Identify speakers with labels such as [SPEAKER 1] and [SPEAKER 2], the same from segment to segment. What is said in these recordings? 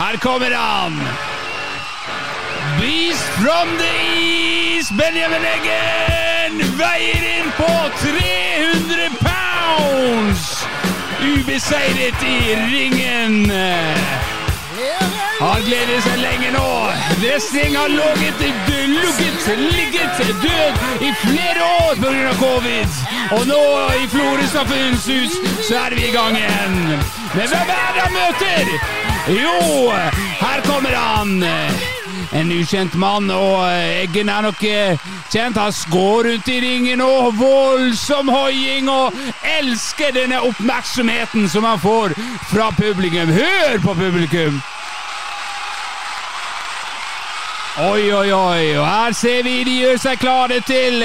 [SPEAKER 1] Her kommer han! Beast from the East, Benjamin Eggen, veier inn på 300 pounds! Ubeseiret i ringen. Han gleder seg lenge nå. Dressing har ligget, lukket, ligget død i flere år pga. covid. Og nå, i Florø-samfunnets hus, så er vi i gang igjen. Men hvem er det han møter? Jo, her kommer han. En ukjent mann, og Eggen er nok eh, kjent. Han går rundt i ringen og voldsom hoiing og elsker denne oppmerksomheten som han får fra publikum. Hør på publikum! Oi, oi, oi. Og her ser vi de gjør seg klare til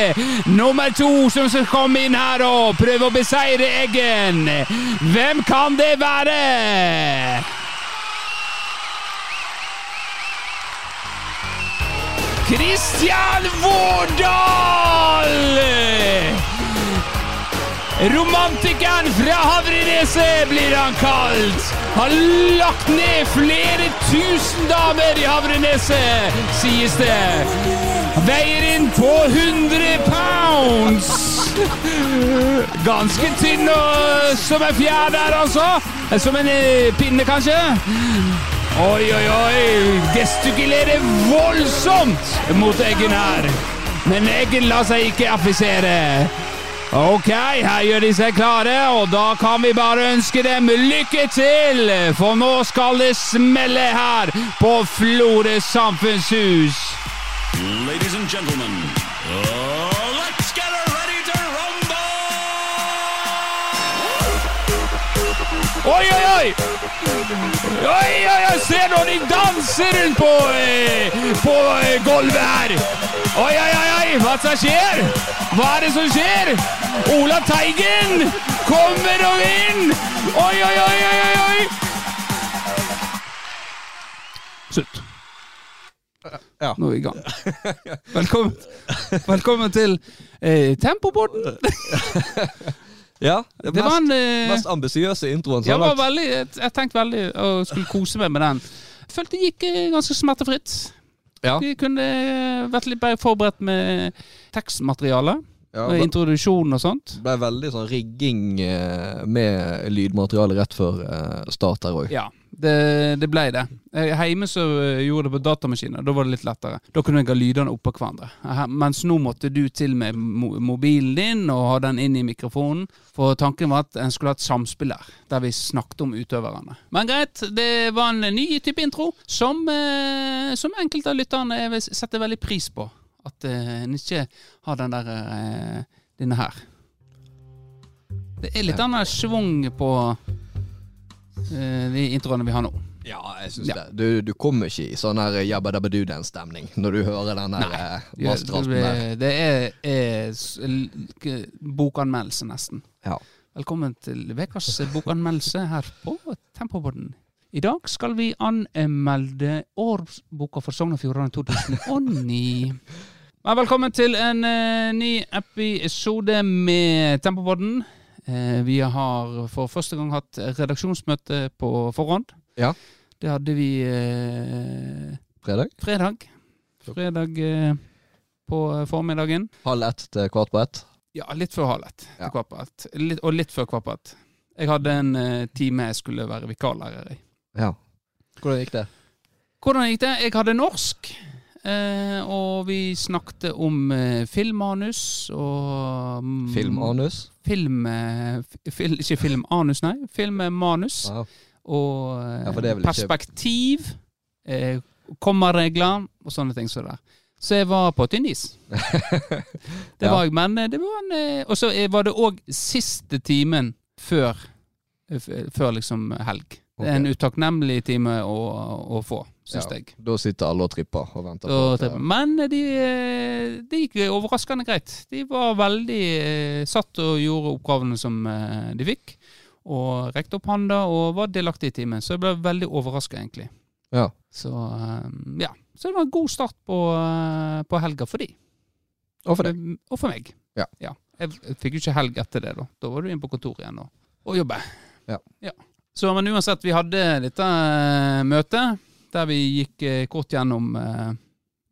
[SPEAKER 1] nummer to som skal komme inn her og prøve å beseire Eggen. Hvem kan det være? Kristian Vårdal! Romantikeren fra Havreneset blir han kalt. Har lagt ned flere tusen damer i Havreneset, sies det. Veier inn på 100 pounds. Ganske tynn og som en fjær der, altså. Som en eh, pinne, kanskje. Oi, oi, oi. Gestikulerer voldsomt mot Eggen her. Men Eggen lar seg ikke affisere. Ok, her gjør de seg klare, og da kan vi bare ønske dem lykke til! For nå skal det smelle her på Florø samfunnshus.
[SPEAKER 2] Ladies and gentlemen, uh, let's get her ready to rumble!
[SPEAKER 1] Oi, oi, oi! Oi, oi, oi! Se nå, de danser rundt på, eh, på eh, gulvet her! Oi, oi, oi, oi! Hva som skjer? Hva er det som skjer? Ola Teigen kommer og inn! Oi, oi, oi, oi, oi! oi. Slutt.
[SPEAKER 3] Ja.
[SPEAKER 1] Nå er vi i gang. Velkommen, velkommen til eh, Tempoporten.
[SPEAKER 3] Ja, det,
[SPEAKER 1] Det var
[SPEAKER 3] mest,
[SPEAKER 1] en eh,
[SPEAKER 3] mest ambisiøse introen
[SPEAKER 1] jeg,
[SPEAKER 3] så
[SPEAKER 1] var
[SPEAKER 3] langt.
[SPEAKER 1] veldig, jeg jeg tenkte veldig å skulle kose meg med den. Følte det gikk eh, ganske smertefritt.
[SPEAKER 3] Ja.
[SPEAKER 1] Vi kunne eh, vært litt bedre forberedt med tekstmateriale.
[SPEAKER 3] Ja,
[SPEAKER 1] og
[SPEAKER 3] det
[SPEAKER 1] introduksjon og sånt.
[SPEAKER 3] ble veldig sånn rigging eh, med lydmateriale rett før eh, start her òg.
[SPEAKER 1] Ja, det, det ble det. Eh, Hjemme så eh, gjorde jeg det på datamaskiner. Da var det litt lettere. Da kunne jeg ha lydene oppå hverandre. Her- Mens nå måtte du til med mo- mobilen din og ha den inn i mikrofonen. For tanken var at en skulle ha et samspill der, der vi snakket om utøverne. Men greit, det var en ny type intro som, eh, som enkelte av lytterne eh, setter veldig pris på. At eh, en ikke har den der eh, denne her. Det er litt annen schwung på eh, de introene vi har nå.
[SPEAKER 3] Ja, jeg
[SPEAKER 1] Ja.
[SPEAKER 3] det. Du, du kommer ikke i sånn her jabba dabba du-den-stemning når du hører den der eh,
[SPEAKER 1] Ja,
[SPEAKER 3] basstralten
[SPEAKER 1] det-
[SPEAKER 3] der.
[SPEAKER 1] Det er, er s- l- k- bokanmeldelse, nesten.
[SPEAKER 3] Ja.
[SPEAKER 1] Velkommen til ukas bokanmeldelse her på Tempoborden. I dag skal vi anmelde årsboka for Sogn og Fjordane 2009. Men velkommen til en eh, ny episode med Tempoborden. Eh, vi har for første gang hatt redaksjonsmøte på forhånd.
[SPEAKER 3] Ja.
[SPEAKER 1] Det hadde vi eh,
[SPEAKER 3] Fredag?
[SPEAKER 1] fredag. Fredag eh, på eh, formiddagen.
[SPEAKER 3] Halv ett til kvart på ett?
[SPEAKER 1] Ja, litt før halv ett. til
[SPEAKER 3] Ja.
[SPEAKER 1] kvart på ett. Litt- Og litt før kvart på ett. Jeg hadde en eh, time jeg skulle være vikarlærer i.
[SPEAKER 3] Ja. Hvordan gikk det?
[SPEAKER 1] Hvordan gikk det? Jeg hadde norsk. eh, og vi snakket om eh, filmmanus og mm,
[SPEAKER 3] Filmanus?
[SPEAKER 1] Film, eh, f- fil, ikke filmanus, nei. Filmmanus.
[SPEAKER 3] Ja.
[SPEAKER 1] og
[SPEAKER 3] Ja, for
[SPEAKER 1] eh,
[SPEAKER 3] det er vel ikke-
[SPEAKER 1] perspektiv, eh, kommaregler og sånne ting. Så, der. så jeg var på tynn is. det
[SPEAKER 3] Ja.
[SPEAKER 1] var jeg, men eh, det var en eh, Og så eh, var det òg siste timen før, eh, f- før liksom helg. Det er en utakknemlig time å, å få, syns
[SPEAKER 3] Ja.
[SPEAKER 1] jeg.
[SPEAKER 3] Da sitter alle og tripper og venter
[SPEAKER 1] Og,
[SPEAKER 3] på at, eh,
[SPEAKER 1] men eh, de, eh, det gikk eh, overraskende greit. De var veldig eh, satt og gjorde oppgavene som eh, de fikk. Og rekte opp handa og var delaktig i timen. Så jeg ble veldig overraska, egentlig.
[SPEAKER 3] Ja.
[SPEAKER 1] Så
[SPEAKER 4] ehm,
[SPEAKER 1] eh, ja. Så det var en god start på, eh, på helga for de.
[SPEAKER 3] Og for deg.
[SPEAKER 4] Ehm,
[SPEAKER 1] Og for meg.
[SPEAKER 3] Ja.
[SPEAKER 1] Jeg, jeg fikk jo ikke helg etter det, da. Da var du inne på kontoret igjen og, og jobbe.
[SPEAKER 3] Ja.
[SPEAKER 4] Så men uansett, vi hadde dette eh, møtet der vi gikk eh, kort gjennom eh,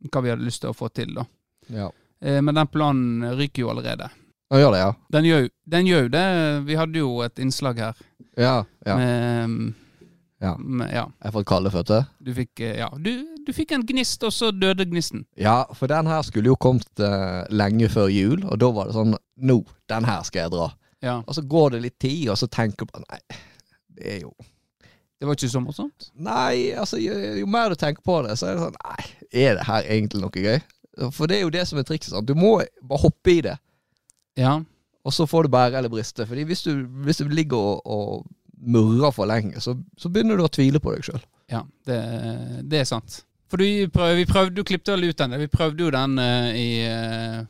[SPEAKER 4] hva vi hadde lyst til å få til, da.
[SPEAKER 3] Ja.
[SPEAKER 4] Eh, men den planen ryker jo allerede.
[SPEAKER 3] Han gjør det, ja.
[SPEAKER 4] Den gjør, jo- den gjør jo det. Vi hadde jo et innslag her
[SPEAKER 3] Ja. ja.
[SPEAKER 4] med, ehm,
[SPEAKER 3] Ja.
[SPEAKER 4] med Ja.
[SPEAKER 3] Jeg får kalde føtter.
[SPEAKER 4] Du fikk, eh, ja. Du, du fikk en gnist, og så døde gnisten.
[SPEAKER 3] Ja, for den her skulle jo kommet eh, lenge før jul, og da var det sånn Nå, den her skal jeg dra.
[SPEAKER 4] Ja.
[SPEAKER 3] Og så går det litt tid, og så tenker man Nei, det er jo
[SPEAKER 4] Det var ikke så morsomt.
[SPEAKER 3] Nei, altså jo, jo mer du tenker på det, så er det sånn Nei, er det her egentlig noe gøy? For det er jo det som er trikset. sant? Du må bare hoppe i det,
[SPEAKER 4] Ja.
[SPEAKER 3] og så får du bære eller briste. Fordi hvis du, hvis du ligger og, og murrer for lenge, så, så begynner du å tvile på deg sjøl.
[SPEAKER 4] Ja, det, det er sant. For du, prøv, vi prøvde, du klippte vel ut den. Vi prøvde jo den eh, i eh,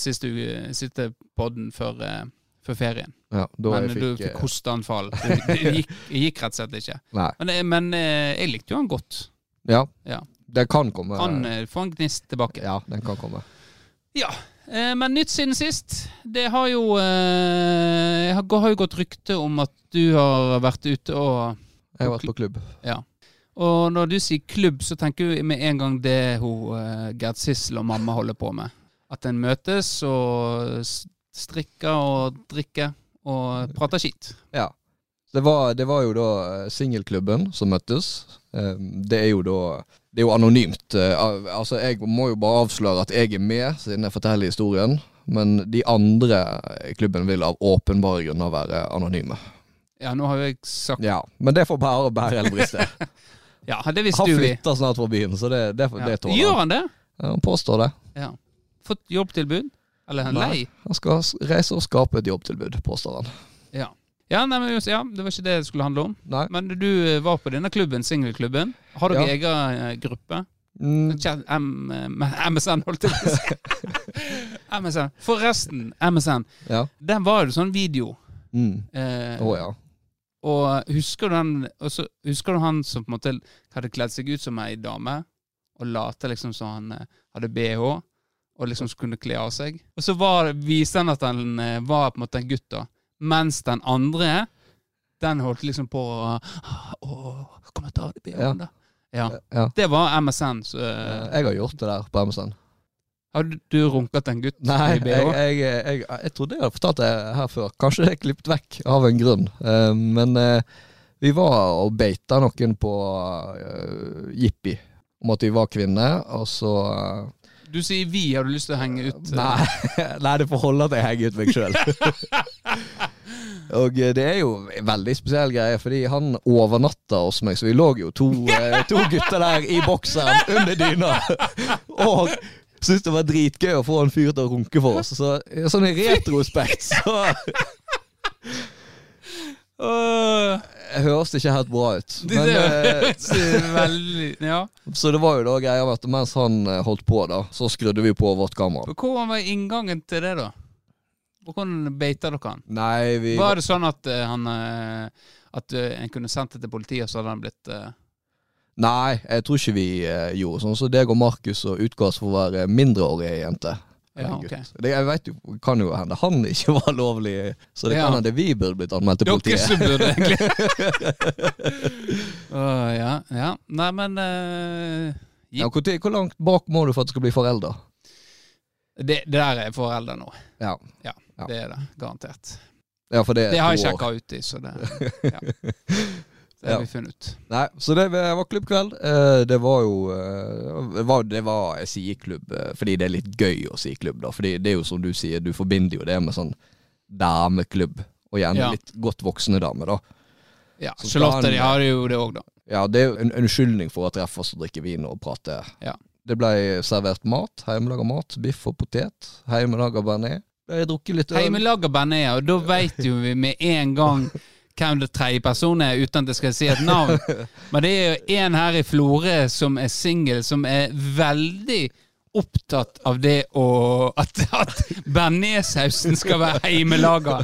[SPEAKER 4] siste, uke- siste podden før, eh, før ferien.
[SPEAKER 3] Ja, da
[SPEAKER 4] men
[SPEAKER 3] jeg
[SPEAKER 4] du
[SPEAKER 3] fikk,
[SPEAKER 4] fikk
[SPEAKER 3] eh,
[SPEAKER 4] hosteanfall. Det, det, gikk, det gikk rett og slett ikke.
[SPEAKER 3] Nei.
[SPEAKER 4] Men, eh, men eh, jeg likte jo han godt.
[SPEAKER 3] Ja.
[SPEAKER 4] Ja.
[SPEAKER 3] Den kan komme.
[SPEAKER 4] Han eh, får en gnist tilbake.
[SPEAKER 3] Ja, den kan komme.
[SPEAKER 4] Eh, Men nytt siden sist. Det har jo eh, Jeg har gå- har jo gått rykte om at du har vært ute og
[SPEAKER 3] Jeg har vært på klubb.
[SPEAKER 4] Og når du sier klubb, så tenker du med en gang det hun eh, Gerd Sissel og mamma holder på med. At en møtes og s- strikker og drikker og prater skit.
[SPEAKER 3] Ja. Så Det var, det var jo da eh, singelklubben som møttes. Eh, Det er jo da Det er jo anonymt. Eh, al- Altså, jeg må jo bare avsløre at jeg er med, siden jeg forteller historien. Men de andre i klubben vil av åpenbare grunner være anonyme.
[SPEAKER 4] Ja, nå har jo jeg sagt
[SPEAKER 3] Ja, Men det får bare bære eller briste.
[SPEAKER 4] Ja, det visste
[SPEAKER 3] Han
[SPEAKER 4] jo vi.
[SPEAKER 3] flytter snart fra byen, så det, det,
[SPEAKER 4] Ja.
[SPEAKER 3] det tåler
[SPEAKER 4] Gjør
[SPEAKER 3] han.
[SPEAKER 4] han det?
[SPEAKER 3] Ja, Han påstår det.
[SPEAKER 4] Ja. Fått jobbtilbud? Eller er han
[SPEAKER 3] Nei.
[SPEAKER 4] lei?
[SPEAKER 3] Han skal s- reise og skape et jobbtilbud, påstår han.
[SPEAKER 4] Ja. Ja, nei, men, ja, det var ikke det det skulle handle om.
[SPEAKER 3] Nei.
[SPEAKER 4] Men du eh, var på denne klubben, singelklubben. Har dere
[SPEAKER 3] Ja.
[SPEAKER 4] egen eh, gruppe?
[SPEAKER 3] Mm,
[SPEAKER 4] Chat- M, eh, MSN, holdt jeg på å si. MSN. Forresten, MSN.
[SPEAKER 3] ja.
[SPEAKER 4] Den var jo sånn video.
[SPEAKER 3] Mm.
[SPEAKER 4] Eh,
[SPEAKER 3] Å ja.
[SPEAKER 4] Og husker du, han, og så husker du han som på en måte hadde kledd seg ut som ei dame, og late liksom som han eh, hadde bh, og liksom kunne kle av seg? Og så var, viste han at han eh, var på en måte en gutt, da. Mens den andre, den holdt liksom på å Å, kom og ta av deg
[SPEAKER 3] Ja.
[SPEAKER 4] bh-en, da. Ja.
[SPEAKER 3] ja.
[SPEAKER 4] Det var MSN. Så, eh,
[SPEAKER 3] Jeg har gjort det der på MSN.
[SPEAKER 4] har du, du runket en gutt
[SPEAKER 3] Nei,
[SPEAKER 4] i
[SPEAKER 3] jeg,
[SPEAKER 4] bh?
[SPEAKER 3] jeg, jeg, jeg trodde jeg hadde fortalt det her før. Kanskje det er klippet vekk av en grunn. Eh, Men eh, vi var og beita noen på eh, jippi om at vi var kvinner, og så eh,
[SPEAKER 4] Du sier 'vi', har du lyst til å henge ut? eh,
[SPEAKER 3] Nei, nei, det får holde at jeg henger ut meg sjøl. Og eh, det er jo en veldig spesiell greie, fordi han overnatta hos meg, så vi lå jo to, eh, to gutter der i bokseren under dyna. Og syntes det var dritgøy å få en fyr til å runke for oss. Så eh, sånn i retrospekt så
[SPEAKER 4] Åh,
[SPEAKER 3] høres det ikke helt bra ut.
[SPEAKER 4] det
[SPEAKER 3] Men, eh,
[SPEAKER 4] høres veldig Ja.
[SPEAKER 3] så det var jo da greia med at mens han eh, holdt på, da, så skrudde vi på vårt kamera.
[SPEAKER 4] Og Hvordan var inngangen til det, da? Og Hvordan beita dere han?
[SPEAKER 3] Nei, vi
[SPEAKER 4] Var det sånn at eh, han eh, At eh, en kunne sendt det til politiet, og så hadde han blitt eh,
[SPEAKER 3] Nei, jeg tror ikke vi eh, gjorde sånn. Så deg og Markus og utgass for å være mindreårige jenter.
[SPEAKER 4] Ja,
[SPEAKER 3] Gutt.
[SPEAKER 4] ok.
[SPEAKER 3] Det jeg vet jo, kan jo hende han ikke var lovlig, så det
[SPEAKER 4] Ja.
[SPEAKER 3] kan hende vi burde blitt anmeldt til
[SPEAKER 4] Dere
[SPEAKER 3] politiet.
[SPEAKER 4] som burde egentlig Åh, ja, ja. Nei, men eh,
[SPEAKER 3] Ja, hvor, tid- hvor langt bak må du for at du skal bli forelder?
[SPEAKER 4] det, det der er forelder nå.
[SPEAKER 3] Ja. Ja.
[SPEAKER 4] Det er det. Garantert.
[SPEAKER 3] ja, for det er
[SPEAKER 4] Det har jeg
[SPEAKER 3] to år.
[SPEAKER 4] sjekka ut i, så det ja. Det har
[SPEAKER 3] Ja.
[SPEAKER 4] vi funnet ut.
[SPEAKER 3] Nei, så det var klubbkveld. Eh, Det var jo eh, det var, det var Jeg sier klubb eh, fordi det er litt gøy å si klubb, da. Fordi det er jo som du sier, du forbinder jo det med sånn dameklubb. Og gjerne
[SPEAKER 4] Ja.
[SPEAKER 3] litt godt voksne damer, da.
[SPEAKER 4] Ja,
[SPEAKER 3] Så
[SPEAKER 4] Charlotte
[SPEAKER 3] skal han-
[SPEAKER 4] de har jo det òg, da.
[SPEAKER 3] Ja, det er jo en unnskyldning for å treffe oss og drikke vin og prate.
[SPEAKER 4] Ja.
[SPEAKER 3] Det ble servert mat, hjemmelaga mat, biff og potet, hjemmelaga bearnés. Ble drukket litt eh? øl.
[SPEAKER 4] Heimelaga band er, og da veit jo vi med en gang hvem det tredje personen er, uten at jeg skal si et navn. Men det er jo en her i Florø som er singel, som er veldig opptatt av det å At, at bearnéssausen skal være heimelaga.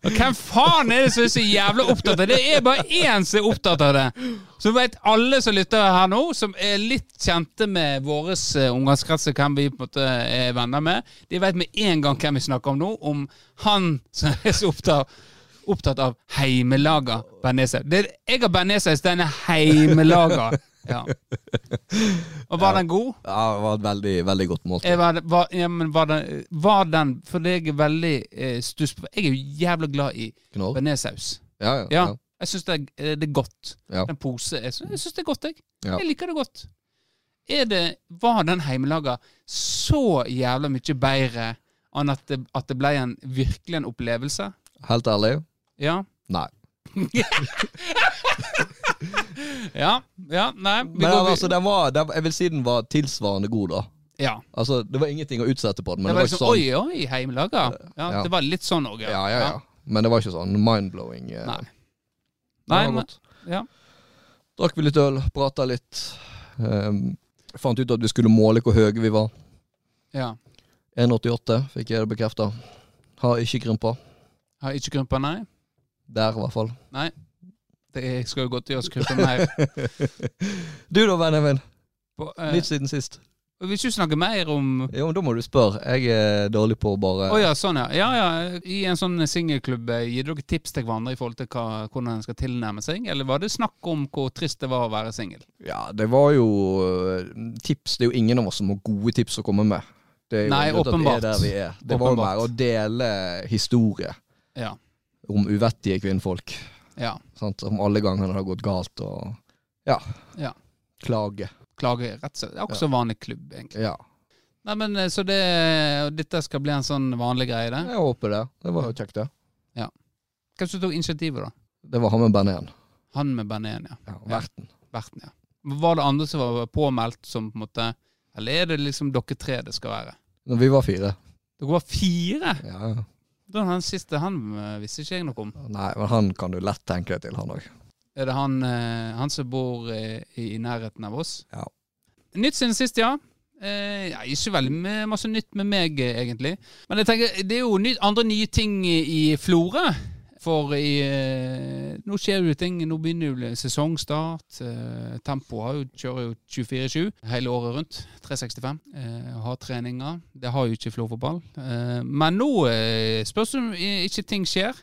[SPEAKER 4] Og Hvem faen er det som er så jævla opptatt av det? Det er bare én som er opptatt av det. Så veit alle som lytter her nå, som er litt kjente med våre eh, omgangskrets, og hvem vi på en måte er venner med, de veit med en gang hvem vi snakker om nå, om han som er så opptatt opptatt av heimelaga bearnéssaus. Det- Jeg har bearnéssaus, den er heimelaga. Ja. Og var den god?
[SPEAKER 3] Ja, det var et veldig, veldig godt måltid.
[SPEAKER 4] Jeg var, var, ja, men var, den, var den For det jeg er veldig eh, stuss på Jeg er jo jævla glad i
[SPEAKER 3] Knorr.
[SPEAKER 4] bearnéssaus.
[SPEAKER 3] Ja, ja,
[SPEAKER 4] Ja.
[SPEAKER 3] ja.
[SPEAKER 4] Jeg syns det, er- eh, det er godt.
[SPEAKER 3] Ja.
[SPEAKER 4] Den pose Jeg syns jeg syns det er godt, jeg.
[SPEAKER 3] Ja.
[SPEAKER 4] Jeg liker det godt. Er det, var den heimelaga så jævla mye bedre enn at det, at det ble en, virkelig en opplevelse?
[SPEAKER 3] Helt ærlig,
[SPEAKER 4] Ja.
[SPEAKER 3] nei.
[SPEAKER 4] Ja. ja nei. vi
[SPEAKER 3] Men
[SPEAKER 4] går-
[SPEAKER 3] altså, den var, den, jeg vil si den var tilsvarende god, da.
[SPEAKER 4] ja.
[SPEAKER 3] Altså, Det var ingenting å utsette på den,
[SPEAKER 4] Det
[SPEAKER 3] men
[SPEAKER 4] var
[SPEAKER 3] det var ikke
[SPEAKER 4] liksom
[SPEAKER 3] sånn.
[SPEAKER 4] Oi, oi, heimelaga. Ja,
[SPEAKER 3] Ja.
[SPEAKER 4] Det var litt sånn òg,
[SPEAKER 3] Ja, ja, ja. Men det var ikke sånn mind-blowing. eh.
[SPEAKER 4] Nei.
[SPEAKER 3] Det
[SPEAKER 4] Nei,
[SPEAKER 3] var
[SPEAKER 4] men,
[SPEAKER 3] godt.
[SPEAKER 4] ja.
[SPEAKER 3] Drakk vi litt øl, prata litt. Ehm, fant ut at vi skulle måle hvor høye vi var.
[SPEAKER 4] ja.
[SPEAKER 3] 1,88 fikk jeg det bekrefta. Har ikke krympa.
[SPEAKER 4] Har ikke krympa, nei?
[SPEAKER 3] Der, i hvert fall.
[SPEAKER 4] Det er- skal jo godt gjøres å krympe mer.
[SPEAKER 3] Du da, Benjamin.
[SPEAKER 4] På, eh,
[SPEAKER 3] Litt siden sist.
[SPEAKER 4] vil ikke du snakke mer om
[SPEAKER 3] Jo, men Da må du spørre. Jeg er dårlig på å bare
[SPEAKER 4] Å ja, sånn ja. ja, ja. I en sånn singelklubb, eh, gir dere tips til hverandre i forhold til hva, hvordan en skal tilnærme seg, eller var det snakk om hvor trist det var å være singel?
[SPEAKER 3] Ja, det var jo eh, tips. Det er jo ingen av oss som har gode tips å komme med. Det er jo
[SPEAKER 4] Nei,
[SPEAKER 3] grunnen til at
[SPEAKER 4] åpenbart.
[SPEAKER 3] Vi er der vi er. Det var jo
[SPEAKER 4] Åpenbart.
[SPEAKER 3] mer å dele historie
[SPEAKER 4] Ja.
[SPEAKER 3] om uvettige kvinnfolk.
[SPEAKER 4] ja.
[SPEAKER 3] Sant? Om alle gangene det har gått galt, og ja.
[SPEAKER 4] Ja.
[SPEAKER 3] Klage.
[SPEAKER 4] Klager rett og slett. Det er også vanlig klubb, egentlig.
[SPEAKER 3] Ja.
[SPEAKER 4] Nei, men eh, Så det, dette skal bli en sånn vanlig greie, det?
[SPEAKER 3] Jeg håper det. Det var jo kjekt, det.
[SPEAKER 4] Hvem som tok initiativet, da?
[SPEAKER 3] Det var han med Bernéen.
[SPEAKER 4] Han med Bernéen, ja.
[SPEAKER 3] Ja, verten.
[SPEAKER 4] Verten, ja. Men Var det andre som var påmeldt som på en måte Eller er det liksom dere tre det skal være?
[SPEAKER 3] Når vi var fire.
[SPEAKER 4] Dere var fire!
[SPEAKER 3] Ja. ja.
[SPEAKER 4] Da er han siste han eh, visste ikke jeg noe om.
[SPEAKER 3] Nei, men han kan du lett tenke deg til, han òg.
[SPEAKER 4] Er det han, eh, han som bor eh, i, i nærheten av oss?
[SPEAKER 3] Ja.
[SPEAKER 4] Nytt siden sist, ja. Eh, ja, ikke veldig mye- masse nytt med meg, eh, egentlig. Men jeg tenker, det er jo ny, andre nye ting i, i Florø. For i, eh, nå skjer jo ting. Nå begynner jo sesongstart. Eh, Tempoet har jo, kjører jo 24-7 hele året rundt. 365. Eh, har treninger. Det har jo ikke Florfotball. Eh, men nå eh, spørs det om i- ikke ting skjer.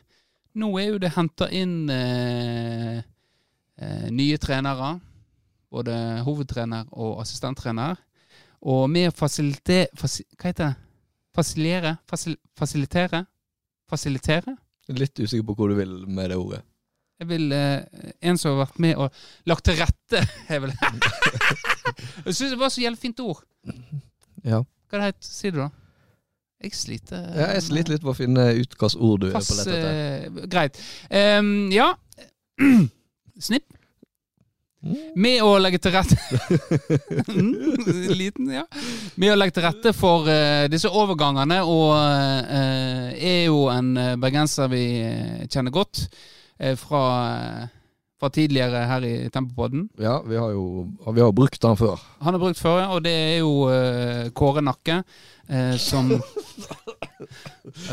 [SPEAKER 4] Nå er jo det henta inn eh, eh, nye trenere. Både hovedtrener og assistenttrener. Og med å fasilite... Fasi, hva heter det? Fasilere? Fasil, fasilitere? Fasilitere?
[SPEAKER 3] Litt usikker på hvor du vil med det ordet.
[SPEAKER 4] Jeg vil eh, En som har vært med og lagt til rette Jeg vil Jeg syns det var så jævlig fint ord.
[SPEAKER 3] Ja.
[SPEAKER 4] Hva det het sier du, da? Jeg sliter eh,
[SPEAKER 3] Ja, jeg sliter litt på å finne ut hvilket ord du er på
[SPEAKER 4] Pass,
[SPEAKER 3] lett etter.
[SPEAKER 4] eh, greit. Em, ja. Snipp.
[SPEAKER 3] Mm.
[SPEAKER 4] Med å legge til rette Mm, Liten, ja. Med å legge til rette for eh, disse overgangene, og eh, er jo en eh, bergenser vi eh, kjenner godt eh, fra, fra tidligere her i Tempopodden.
[SPEAKER 3] Ja, vi har jo vi har brukt den før.
[SPEAKER 4] Han har brukt før, ja, og det er jo eh, Kåre Nakke, eh, som ja,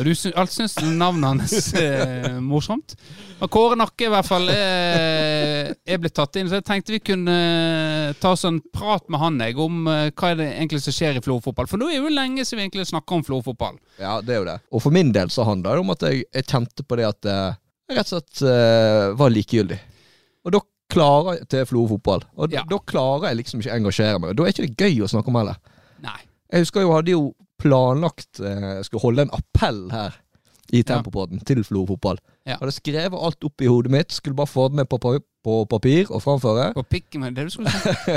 [SPEAKER 4] du sy Alt syns navnet hans er morsomt. Men Kåre Nakke i hvert fall eh, er blitt tatt inn, så jeg tenkte vi kunne eh, ta oss en prat med han jeg, om eh, hva er det egentlig som skjer i florfotball. For nå er jo lenge siden vi egentlig snakker om florfotball.
[SPEAKER 3] Ja, det er jo det. Og for min del så handler det om at jeg, jeg kjente på det at eh, jeg rett og slett eh, var likegyldig. Og da klarer jeg til Flo fotball. Og
[SPEAKER 4] Ja.
[SPEAKER 3] da klarer jeg liksom ikke engasjere meg. Og Da er ikke det gøy å snakke om heller.
[SPEAKER 4] Nei.
[SPEAKER 3] Jeg husker jo, hadde jo planlagt eh, Jeg skulle holde en appell her i Tempopodden til Flo fotball.
[SPEAKER 4] Ja.
[SPEAKER 3] Hadde skrevet alt opp i hodet mitt, skulle bare få det med på, pa- på papir og framføre.
[SPEAKER 4] På pikken med det du skulle si.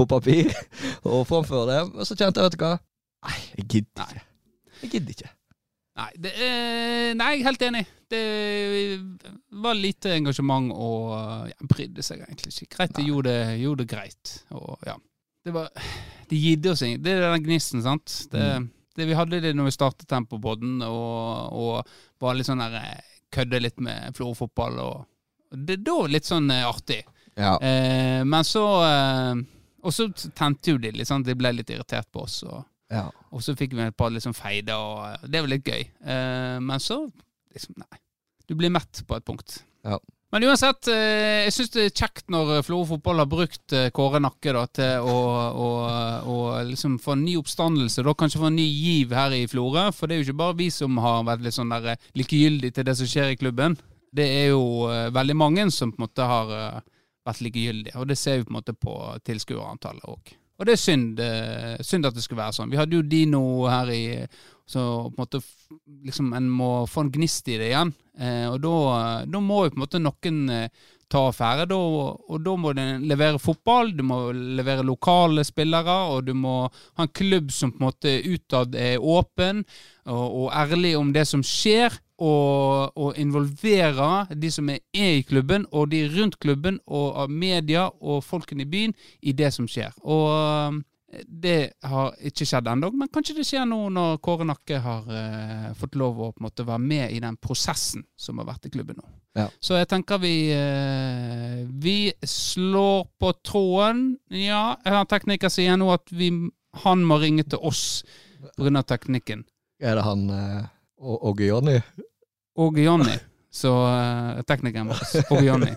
[SPEAKER 3] På papir og framføre det. Og så kjente jeg, vet du hva Nei, jeg gidder ikke. Jeg gidder ikke.
[SPEAKER 4] Nei, det er, nei, jeg er helt enig. Det var lite engasjement og eh, ja, brydde seg egentlig ikke. Greit, det gjorde, gjorde det greit. Og, ja. Det var Det gidde oss ingen. Det er den gnisten, sant. Det, det vi hadde det når vi startet Tempobodden og, og var litt sånn der eh, Kødde litt med florfotball og Det er da litt sånn eh, artig.
[SPEAKER 3] Ja.
[SPEAKER 4] Eh, men så eh, Og så tente jo de litt, sant. De ble litt irritert på oss. og
[SPEAKER 3] ja.
[SPEAKER 4] og så fikk vi et par liksom feider, og det var litt gøy. Eh, men så liksom, nei. Du blir mett på et punkt.
[SPEAKER 3] Ja.
[SPEAKER 4] Men uansett, eh, jeg syns det er kjekt når eh, Florø fotball har brukt eh, Kåre Nakke da, til å, å, å liksom få en ny oppstandelse. Da kanskje få en ny giv her i Florø, for det er jo ikke bare vi som har vært litt sånn der eh, likegyldig til det som skjer i klubben.
[SPEAKER 5] Det er jo eh, veldig mange som på en måte har eh, vært likegyldige, og det ser vi på en måte på tilskuerantallet òg. Og det er synd, eh, synd at det skulle være sånn. Vi hadde jo Dino her i Så på en måte f- liksom en må få en gnist i det igjen. Eh, og da, eh, da må jo på en måte noen eh, ta affære, da, og da må den levere fotball, du må levere lokale spillere, og du må ha en klubb som på en måte utad er åpen og, og ærlig om det som skjer, og, og involvere de som er, er i klubben, og de rundt klubben, og av media og folkene i byen, i det som skjer. Og eh, det har ikke skjedd ennå, men kanskje det skjer nå når Kåre Nakke har eh, fått lov å på en måte være med i den prosessen som har vært i klubben nå.
[SPEAKER 3] Ja.
[SPEAKER 5] Så jeg tenker vi eh, Vi slår på tråden. Ja, jeg har en tekniker sier nå at vi, han må ringe til oss pga. teknikken.
[SPEAKER 3] Er det han eh, og Åge Jonny?
[SPEAKER 5] Og Jonny. Så eh, teknikeren vår. Og Jonny.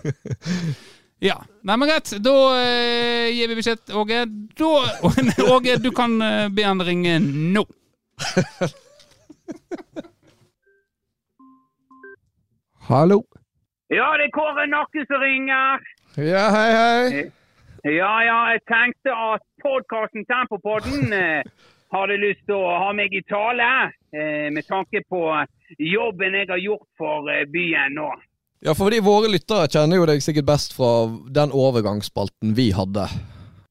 [SPEAKER 5] Ja. Nei, men greit. Da eh, gir vi beskjed til Åge. Da Åge, du kan eh, be han ringe nå.
[SPEAKER 3] Hallo.
[SPEAKER 4] Ja, det er Kåre Nakke som ringer.
[SPEAKER 3] Ja, hei, hei.
[SPEAKER 4] Ja, ja, jeg tenkte at podkasten Tempopodden eh, hadde lyst til å ha meg i tale. Eh, med tanke på jobben jeg har gjort for eh, byen nå.
[SPEAKER 3] Ja, fordi våre lyttere kjenner jo deg sikkert best fra den overgangsspalten vi hadde.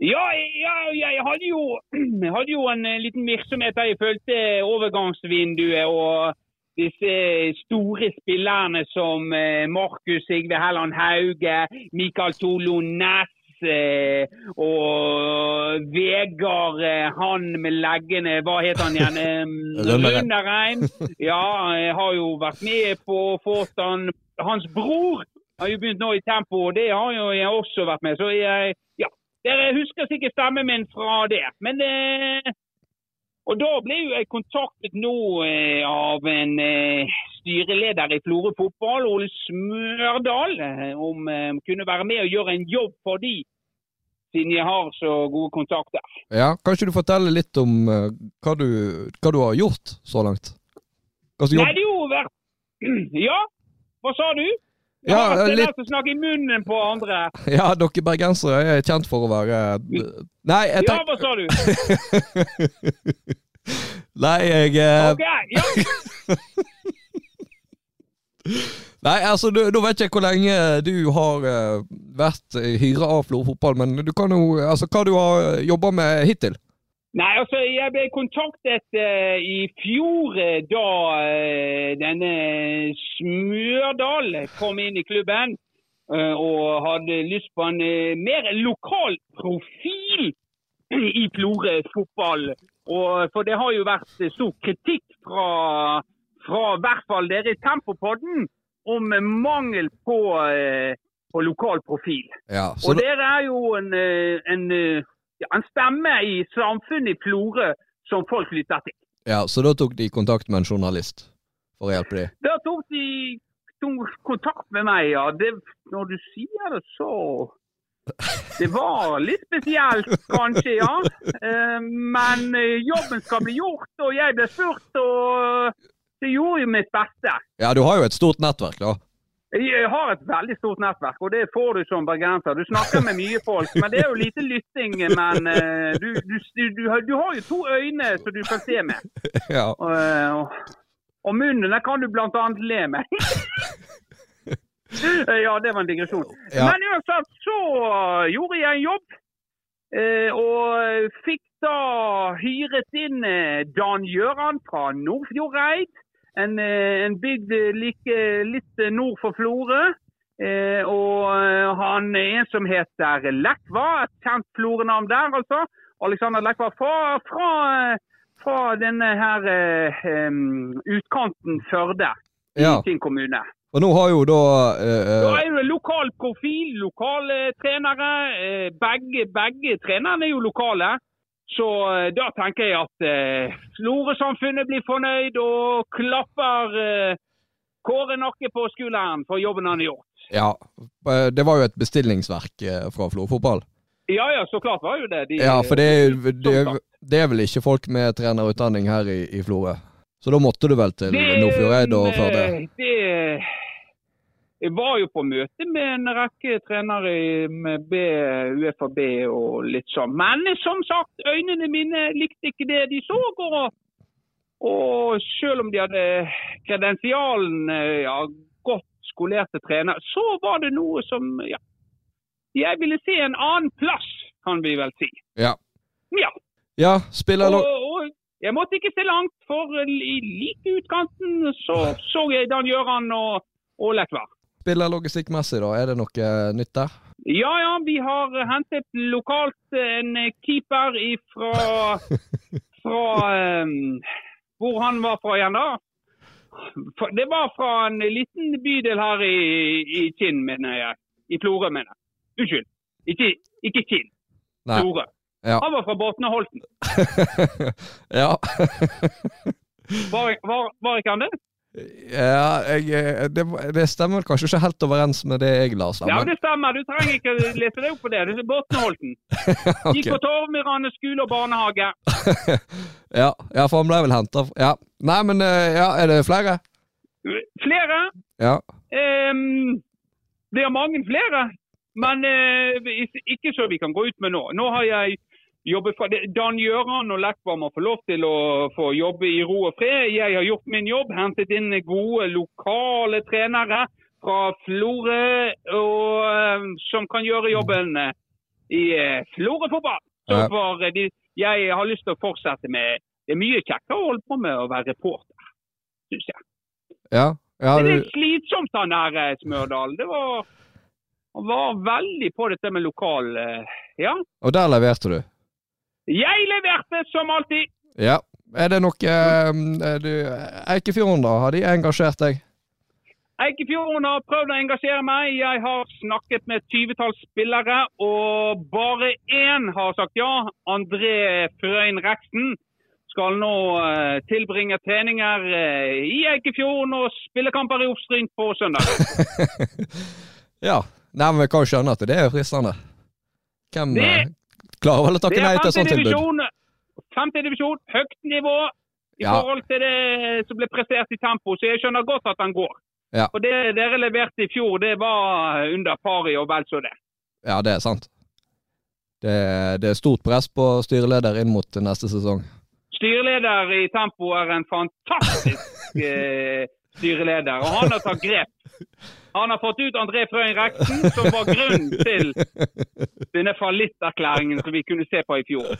[SPEAKER 4] Ja, ja jeg, hadde jo, jeg hadde jo en eh, liten virksomhet der jeg fulgte eh, overgangsvinduet og disse eh, store spillerne som eh, Markus Sigve Helland Hauge, Mikael Tolo Næss eh, og Vegard, eh, han med leggene, hva heter han igjen? Eh,
[SPEAKER 3] Rønnereim.
[SPEAKER 4] Rønnereim. Ja, jeg har jo vært med på Fortan. Hans bror har jo begynt nå i tempo, og det har jo jeg også vært med. Så jeg, ja, dere husker sikkert stemmen min fra det. Men eh, Og da ble jo jeg kontaktet nå eh, av en eh, styreleder i Florø fotball, Ole Smørdal, eh, om eh, om kunne være med og gjøre en jobb for de, siden jeg har så gode kontakter.
[SPEAKER 3] Ja, Kan ikke du fortelle litt om eh, hva, du, hva du har gjort så langt? Hva slags
[SPEAKER 4] Nei,
[SPEAKER 3] jobb?
[SPEAKER 4] det er jo vært Ja, hva sa du?
[SPEAKER 3] Ja,
[SPEAKER 4] Jeg har
[SPEAKER 3] litt-
[SPEAKER 4] litt... å snakke i munnen på andre.
[SPEAKER 3] Ja, dere bergensere er kjent for å være Nei, jeg
[SPEAKER 4] Ja,
[SPEAKER 3] tenk...
[SPEAKER 4] hva sa du?
[SPEAKER 3] Nei, jeg eh,
[SPEAKER 4] Ok, ja.
[SPEAKER 3] Nei, altså, du, nå vet jeg ikke hvor lenge du har eh, vært eh, hyra av Florø fotball, men du kan jo Altså, hva du har jobba med hittil?
[SPEAKER 4] Nei, altså jeg ble kontaktet eh, i fjor eh, da eh, denne Smørdal kom inn i klubben eh, og hadde lyst på en eh, mer lokal profil i Florø fotball. Og, for det har jo vært eh, stor kritikk fra, fra i hvert fall dere i Tempopodden om eh, mangel på, eh, på lokal profil.
[SPEAKER 3] Ja, så
[SPEAKER 4] Og
[SPEAKER 3] da,
[SPEAKER 4] dere er jo en, eh, en, eh, ja, en stemme i samfunnet i Florø som folk lytter til.
[SPEAKER 3] ja, så da tok de kontakt med en journalist for å hjelpe de.
[SPEAKER 4] Da tok de tok kontakt med meg, ja. Det, når du sier det, så Det var litt spesielt, kanskje, ja. Eh, Men eh, jobben skal bli gjort, og jeg ble spurt, og det gjorde jo mitt beste.
[SPEAKER 3] Ja, du har jo et stort nettverk, da.
[SPEAKER 4] Jeg eh, har et veldig stort nettverk, og det får du som bergenser. Du snakker med mye folk, men det er jo lite lytting. Men eh, du, du, du, du, har- du har jo to øyne som du kan se med.
[SPEAKER 3] Ja.
[SPEAKER 4] Eh, og- og munnen der kan du blant annet le med. Eh, ja, det var en digresjon.
[SPEAKER 3] Ja.
[SPEAKER 4] Men uansett så gjorde jeg en jobb. eh, og fikk da hyret inn eh, Dan Gjøran fra Nordfjordeid. En, eh, en bygd eh, like, litt eh, nord for Florø. Eh, og eh, han er en som heter Lekva, et kjent Florø-navn der, altså. Alexander Lekva fra, fra, eh, fra denne her eh, em, utkanten Førde i
[SPEAKER 3] ja.
[SPEAKER 4] sin kommune.
[SPEAKER 3] Og nå har jo da eh,
[SPEAKER 4] Da
[SPEAKER 3] eh,
[SPEAKER 4] er det lokal profil, lokale trenere. eh, Begge, begge trenerne er jo lokale. Så eh, da tenker jeg at eh, Florø-samfunnet blir fornøyd og klapper eh, Kåre Nakke på skulderen for jobben han har gjort.
[SPEAKER 3] Ja. eh, Det var jo et bestillingsverk eh, fra Florø fotball.
[SPEAKER 4] Ja, ja, så klart var jo det. De,
[SPEAKER 3] Ja, for det, er- det, er- det er vel ikke folk med trenerutdanning her i, i
[SPEAKER 4] eh,
[SPEAKER 3] Florø. Så da måtte du vel til Nordfjordeid og Førde?
[SPEAKER 4] Det, Jeg var jo på møte med en rekke trenere i- med B, UFAB og litt sånn. Men som sagt, øynene mine likte ikke det de så. Og, og selv om de hadde kredensialen eh, ja, godt skolerte trenere, så var det noe som ja, Jeg ville se en annen plass, kan vi vel si.
[SPEAKER 3] Ja.
[SPEAKER 4] Ja.
[SPEAKER 3] Ja, spiller
[SPEAKER 4] Og,
[SPEAKER 3] lag...
[SPEAKER 4] og jeg måtte ikke se langt, for eh, i like utkanten så så jeg Dan Gjøran og Ålekvar.
[SPEAKER 3] Spiller logistikkmessig, da. Er det noe eh, nytt der?
[SPEAKER 4] Ja, ja, vi har hentet lokalt eh, en keeper ifra fra em, Hvor han var fra igjen, da? For- Det var fra en liten bydel her i, i Kinn, mener jeg. I Florø, mener jeg. Unnskyld. Ikke, ikke Kinn.
[SPEAKER 3] Nei.
[SPEAKER 4] Florø.
[SPEAKER 3] Ja.
[SPEAKER 4] Han var fra Borten og Holten.
[SPEAKER 3] ja.
[SPEAKER 4] Var, var, var ikke han det?
[SPEAKER 3] ja jeg, eh, det, det stemmer kanskje ikke helt overens med det jeg la
[SPEAKER 4] Ja,
[SPEAKER 3] sammen.
[SPEAKER 4] det stemmer. Du trenger ikke lese deg opp på det. Det er Borten og Holten. Gikk på Torvmyrane skole og barnehage.
[SPEAKER 3] ja, ja, for han ble vel henta ja. Nei, men eh, ja, er det flere?
[SPEAKER 4] Flere.
[SPEAKER 3] Ja.
[SPEAKER 4] Ehm, det er mange flere, men eh, vi- ikke så vi kan gå ut med nå. Nå har jeg jobbet fra det- Dan Gjøran og Lekvar må få lov til å få jobbe i ro og fred. Jeg har gjort min jobb, hentet inn gode lokale trenere fra Florø og, eh, som kan gjøre jobben eh, i eh, Florø fotball. Så
[SPEAKER 3] Ja.
[SPEAKER 4] for, eh, de, jeg har lyst til å fortsette med Det er mye kjekkere å holde på med å være reporter, syns jeg.
[SPEAKER 3] Ja. ja
[SPEAKER 4] Det er
[SPEAKER 3] du,
[SPEAKER 4] litt slitsomt han der eh, Smørdal. Det var Han var veldig på dette med lokal eh, Ja.
[SPEAKER 3] og der leverte du.
[SPEAKER 4] Jeg leverte som alltid!
[SPEAKER 3] Ja. Er det noe eh, du, Eikefjorden, da? Har de engasjert deg?
[SPEAKER 4] Eikefjorden har prøvd å engasjere meg. Jeg har snakket med et tyvetall spillere, og bare én har sagt ja. André Frøyen Reksten skal nå eh, tilbringe treninger eh, i Eikefjorden og spillekamper i Oppstryn på søndag.
[SPEAKER 3] Ja. Nei, men vi kan jo skjønne at det er fristende. Hvem
[SPEAKER 4] Det-
[SPEAKER 3] eh, klarer vel å
[SPEAKER 4] Det
[SPEAKER 3] takke nei
[SPEAKER 4] er
[SPEAKER 3] til et sånt sånn
[SPEAKER 4] femte
[SPEAKER 3] tilbud?
[SPEAKER 4] divisjon. Femte divisjon, høyt nivå i
[SPEAKER 3] Ja.
[SPEAKER 4] forhold til det som ble prestert i tempo, så jeg skjønner godt at han går.
[SPEAKER 3] Ja.
[SPEAKER 4] Og det dere leverte i fjor, det var under pari og vel så det.
[SPEAKER 3] Ja, det er sant. Det, det er stort press på styreleder inn mot neste sesong.
[SPEAKER 4] Styreleder i Tempo er en fantastisk eh, styreleder, og han har tatt grep. Han har fått ut André Frøyen Reksen, som var grunnen til denne fallitterklæringen som vi kunne se på i fjor.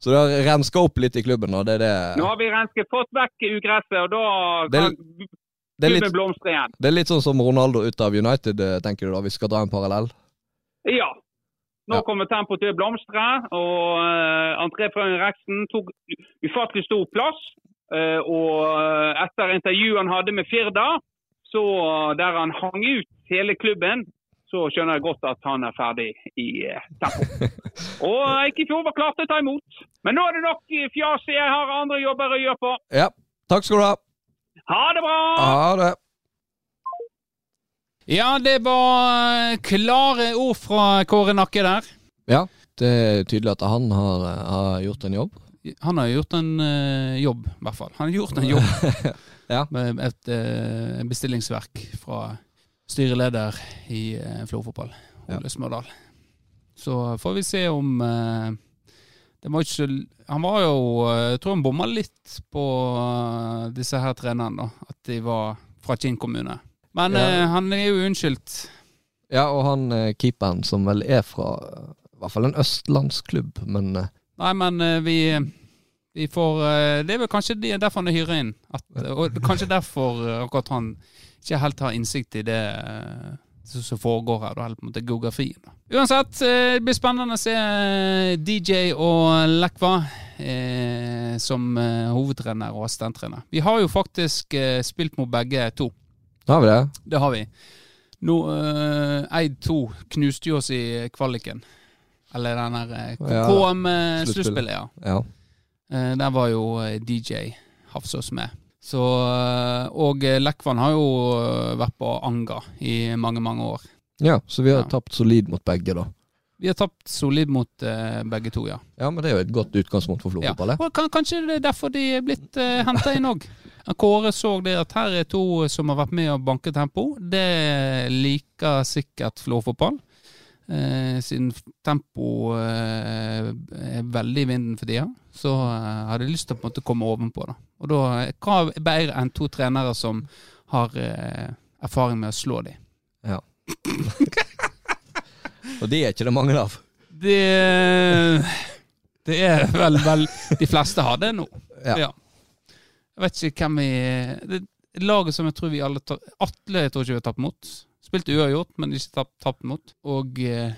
[SPEAKER 3] Så det har renska opp litt i klubben, og det, er
[SPEAKER 4] Nå
[SPEAKER 3] det,
[SPEAKER 4] har vi rensket fått vekk ugresset, og da
[SPEAKER 3] Det er
[SPEAKER 4] kan
[SPEAKER 3] det, er
[SPEAKER 4] klubben
[SPEAKER 3] litt,
[SPEAKER 4] blomstre igjen.
[SPEAKER 3] det er litt sånn som Ronaldo ut av United, eh, tenker du da, vi skal dra en parallell?
[SPEAKER 4] Ja. Nå
[SPEAKER 3] Ja.
[SPEAKER 4] kommer tempoet til å blomstre, og uh, André Frøyen Reksten tok ufattelig stor plass. eh, og eh, etter intervjuet han hadde med Firda, så, eh, der han hang ut hele klubben, så skjønner jeg godt at han er ferdig i eh, tempo. og eh, Eikefjord var klar til å ta imot. Men nå er det nok eh, fjas. Jeg har andre jobber å gjøre på.
[SPEAKER 3] Ja. Takk skal du ha.
[SPEAKER 4] Ha det bra!
[SPEAKER 3] Ha det.
[SPEAKER 6] Ja, det var eh, klare ord fra Kåre Nakke der.
[SPEAKER 3] Ja, det er tydelig at han har, eh, har gjort en jobb.
[SPEAKER 6] Han har gjort en eh, jobb, i hvert fall. Han har gjort en jobb
[SPEAKER 3] Ja.
[SPEAKER 6] med et eh, bestillingsverk fra styreleder i uh, Florfotball, Ole Smørdal. Så får vi se om eh, det var ikke, så l- Han var jo eh, Jeg tror han bomma litt på eh, disse her trenerne, da. At de var fra Kinn kommune. Men
[SPEAKER 3] Ja.
[SPEAKER 6] eh, han er jo unnskyldt.
[SPEAKER 3] Ja, og han eh, keeperen som vel er fra eh, i hvert fall en østlandsklubb, men eh,
[SPEAKER 6] Nei, men eh, vi, vi får eh, Det er vel kanskje de- derfor han er hyret inn. At, eh, og kanskje derfor eh, akkurat han ikke helt har innsikt i det eh, som som foregår her, da, eller på en måte geografien. Da. Uansett, eh, det blir spennende å se eh, DJ og Lekva eh, som eh, hovedtrener og assistenttrener. Vi har jo faktisk eh, spilt mot begge to.
[SPEAKER 3] har vi det?
[SPEAKER 6] Det har vi. Nå, eh, Eid 2 knuste jo oss i kvaliken. Eller den der eh,
[SPEAKER 3] Ja,
[SPEAKER 6] KM-sluttspillet, ja.
[SPEAKER 3] Ja.
[SPEAKER 6] Eh, Der var jo eh, DJ Hafsås med. Så, eh, og eh, Lekvan har jo eh, vært på Anga i mange, mange år.
[SPEAKER 3] ja så vi har
[SPEAKER 6] Ja.
[SPEAKER 3] tapt solid mot begge, da.
[SPEAKER 4] Vi har tapt solid mot eh, begge to, ja.
[SPEAKER 3] Ja, men det er jo et godt utgangspunkt for
[SPEAKER 4] ja.
[SPEAKER 3] Florø-fotball. det.
[SPEAKER 4] Og kan, kanskje det er derfor de er blitt uh, henta inn òg. Kåre så det at her er to som har vært med og banket tempo. Det liker sikkert Florø-fotball. Eh, siden tempo eh, er veldig i vinden for tida, så eh, har de lyst til å på en måte komme ovenpå. Da. Og da eh, hva er bedre enn to trenere som har eh, erfaring med å slå dem?
[SPEAKER 3] Og de er ikke det mange av.
[SPEAKER 4] Det Det er vel vel De fleste har det nå.
[SPEAKER 3] Ja.
[SPEAKER 4] Jeg vet ikke hvem vi det, Laget som jeg tror vi alle tar Atle jeg tror ikke vi har tapt mot. Spilte uavgjort, men ikke tapt, tapt mot. Og eh,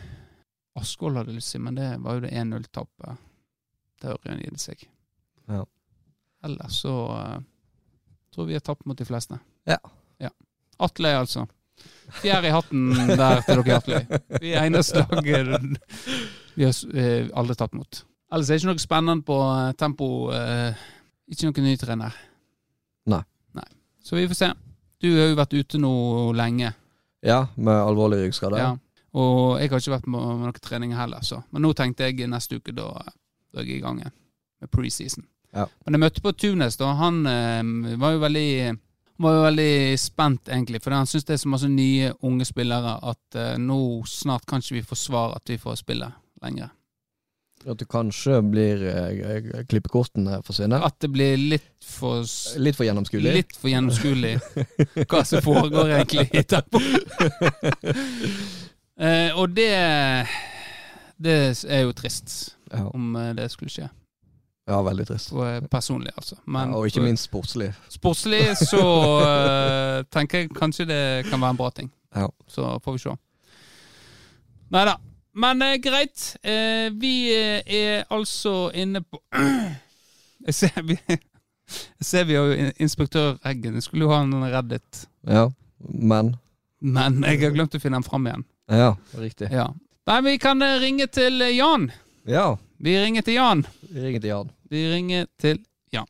[SPEAKER 4] Askvoll hadde lyst til, men det var jo det 1-0-tapet. Det har Ørjan gitt seg.
[SPEAKER 3] Ja.
[SPEAKER 4] Ellers så eh, tror vi har tapt mot de fleste.
[SPEAKER 3] Ja.
[SPEAKER 4] ja. Atle, altså. Fjær i hatten der til dere, Atle. Vi er eneste eh, laget vi har s- eh, aldri tatt mot. Ellers er det ikke noe spennende på eh, tempo. Eh, ikke noen ny trener.
[SPEAKER 3] Nei.
[SPEAKER 4] Nei. Så vi får se. Du har jo vært ute nå lenge.
[SPEAKER 3] Ja, med alvorlig ryggskade.
[SPEAKER 4] Ja. Og jeg har ikke vært med, med noen treninger heller, så. Men nå tenkte jeg neste uke, da, da er jeg i gang igjen med preseason.
[SPEAKER 3] Ja.
[SPEAKER 4] Men jeg møtte på Tunes, da. Han eh, var jo veldig han var jo veldig spent, egentlig, for han syns det er så masse nye unge spillere at eh, nå snart kan ikke vi forsvare at vi får spille lenger.
[SPEAKER 3] At du kanskje blir eh, klippekortene forsvinner.
[SPEAKER 4] At det blir litt for s-
[SPEAKER 3] Litt for gjennomskuelig.
[SPEAKER 4] Litt for gjennomskuelig hva som foregår egentlig i tempo. Eh, og det Det er jo trist,
[SPEAKER 3] Ja.
[SPEAKER 4] om eh, det skulle skje.
[SPEAKER 3] ja, veldig trist.
[SPEAKER 4] Og, eh, Personlig, altså. Men
[SPEAKER 3] Ja, og ikke minst sportslig.
[SPEAKER 4] sportslig så eh, tenker jeg kanskje det kan være en bra ting.
[SPEAKER 3] Ja.
[SPEAKER 4] Så får vi se. Nei da. Men eh, greit. Eh, vi eh, er altså inne på Jeg ser vi Jeg ser vi har jo in- inspektør Eggen. Jeg skulle jo ha en Reddit,
[SPEAKER 3] ja. Men
[SPEAKER 4] men jeg har glemt å finne den fram igjen.
[SPEAKER 3] Ja, riktig.
[SPEAKER 4] Ja. Nei, vi kan eh, ringe til eh, Jan.
[SPEAKER 3] Ja,
[SPEAKER 4] Vi ringer til Jan.
[SPEAKER 3] ring til Jan.
[SPEAKER 4] Vi ringer til Jan.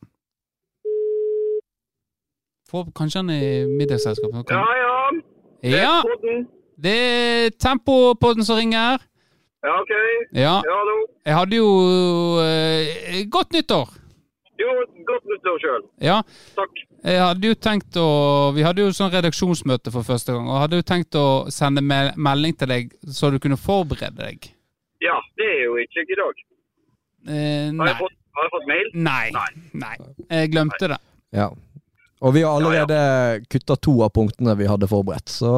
[SPEAKER 4] Får kanskje han i middagsselskapet.
[SPEAKER 7] Ja, ja.
[SPEAKER 4] ja,
[SPEAKER 7] Podden.
[SPEAKER 4] det er Tempopodden som ringer.
[SPEAKER 7] Ja, OK.
[SPEAKER 4] Ja.
[SPEAKER 7] Ja, hallo.
[SPEAKER 4] Jeg hadde jo eh, Godt nyttår!
[SPEAKER 7] Jo, godt nyttår sjøl.
[SPEAKER 4] Ja.
[SPEAKER 7] Takk.
[SPEAKER 4] Jeg hadde jo tenkt å Vi hadde jo sånn redaksjonsmøte for første gang, og hadde jo tenkt å sende me melding til deg så du kunne forberede deg.
[SPEAKER 7] Ja, det er jo ikke i dag.
[SPEAKER 4] Eh,
[SPEAKER 7] Har
[SPEAKER 4] nei.
[SPEAKER 7] jeg fått, har jeg fått mail?
[SPEAKER 4] nei. Nei. Jeg glemte det.
[SPEAKER 3] Ja. Og vi har allerede kutta to av punktene vi hadde forberedt, så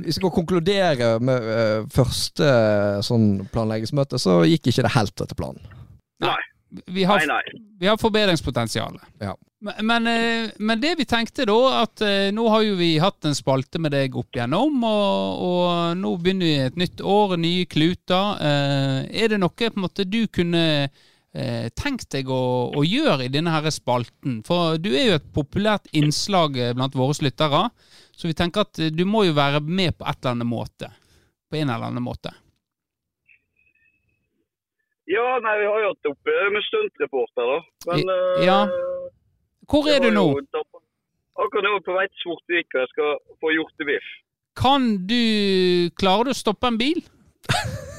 [SPEAKER 3] vi skal konkludere med eh, første eh, sånn planleggingsmøte, så gikk ikke det helt etter planen.
[SPEAKER 4] Vi har,
[SPEAKER 7] Nei, nei.
[SPEAKER 4] vi har forbedringspotensial.
[SPEAKER 3] Ja.
[SPEAKER 4] Men, men, eh, men det vi tenkte da, at eh, nå har jo vi hatt en spalte med deg opp igjennom, og, og nå begynner vi et nytt år, nye kluter. Eh, Er det noe på en måte du kunne eh, tenkt deg å, å gjøre i denne her spalten? For du er jo et populært innslag eh, blant våre lyttere, så vi tenker at eh, du må jo være med på et eller annet måte. På en eller annen måte.
[SPEAKER 7] Ja, nei, vi har jo hatt oppe med stuntreporter, da. Men eh,
[SPEAKER 4] Ja. Hvor
[SPEAKER 7] jeg
[SPEAKER 4] er du
[SPEAKER 7] var
[SPEAKER 4] nå?
[SPEAKER 7] jo da- Akkurat nå er jeg på vei til Svortvik, og jeg skal få hjortebiff.
[SPEAKER 4] Kan du Klarer du å stoppe en bil?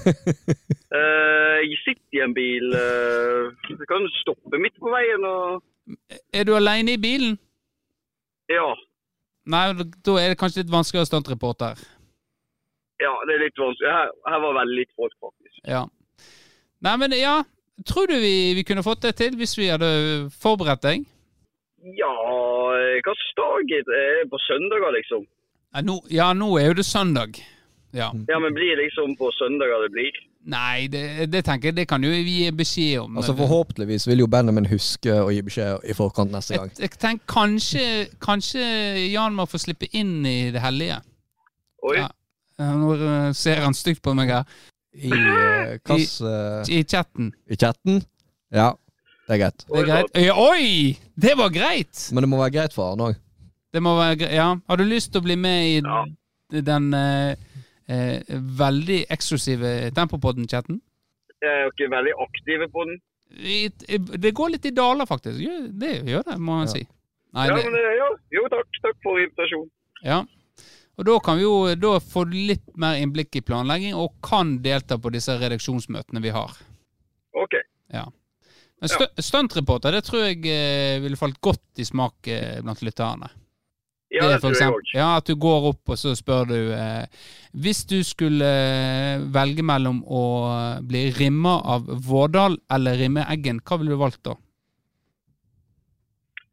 [SPEAKER 7] Eh, jeg sitter i en bil. eh, jeg kan stoppe midt på veien og
[SPEAKER 4] Er du aleine i bilen?
[SPEAKER 7] Ja.
[SPEAKER 4] Nei, da er det kanskje litt vanskeligere stuntreporter.
[SPEAKER 7] Ja, det er litt vanskelig. Her, her var veldig litt folk, faktisk.
[SPEAKER 4] Ja. Nei, men ja. Tror du vi, vi kunne fått det til hvis vi hadde forberedt deg?
[SPEAKER 7] Ja, eh, hva slags dag er det? På søndager, liksom?
[SPEAKER 4] Nei, nå, ja, nå er jo det søndag. Ja.
[SPEAKER 7] Ja, men blir det liksom på søndager det blir?
[SPEAKER 4] Nei, det, det tenker jeg, det kan jo vi gi beskjed om.
[SPEAKER 3] Altså Forhåpentligvis vil jo Benjamin huske å gi beskjed i forkant neste
[SPEAKER 4] jeg,
[SPEAKER 3] gang.
[SPEAKER 4] jeg tenker kanskje, kanskje Jan må få slippe inn i det hellige.
[SPEAKER 7] Oi.
[SPEAKER 4] Ja. Eh, Nå eh, ser han stygt på meg her.
[SPEAKER 3] I eh, kass... eh,
[SPEAKER 4] I chatten.
[SPEAKER 3] I chatten? Ja, det er greit.
[SPEAKER 4] Det er greit. Øy, Oi! Det var greit!
[SPEAKER 3] Men det må være greit for han òg.
[SPEAKER 4] Det må være greit. Ja. Har du lyst til å bli med i
[SPEAKER 7] Ja.
[SPEAKER 4] den eh, eh, veldig eksklusive Tempopodden-chatten?
[SPEAKER 7] Jeg er jo ikke veldig aktive på den.
[SPEAKER 4] I- i- Det går litt i daler, faktisk. Gjør- Det gjør det, må man
[SPEAKER 3] Ja.
[SPEAKER 4] si. Nei,
[SPEAKER 7] Ja,
[SPEAKER 4] det,
[SPEAKER 7] men eh, ja. Jo, takk. Takk for invitasjonen.
[SPEAKER 4] ja. Og Da kan vi jo da få litt mer innblikk i planlegging, og kan delta på disse redaksjonsmøtene vi har.
[SPEAKER 7] OK.
[SPEAKER 4] Ja. Men stu- Stuntreporter, det tror jeg eh, ville falt godt i smak eh, blant lytterne.
[SPEAKER 7] Ja, det
[SPEAKER 4] for
[SPEAKER 7] tror jeg
[SPEAKER 4] eksempel-
[SPEAKER 7] òg.
[SPEAKER 4] Ja, at du går opp og så spør du eh, Hvis du skulle eh, velge mellom å bli rimma av Vårdal eller rimme Eggen, hva ville du valgt da?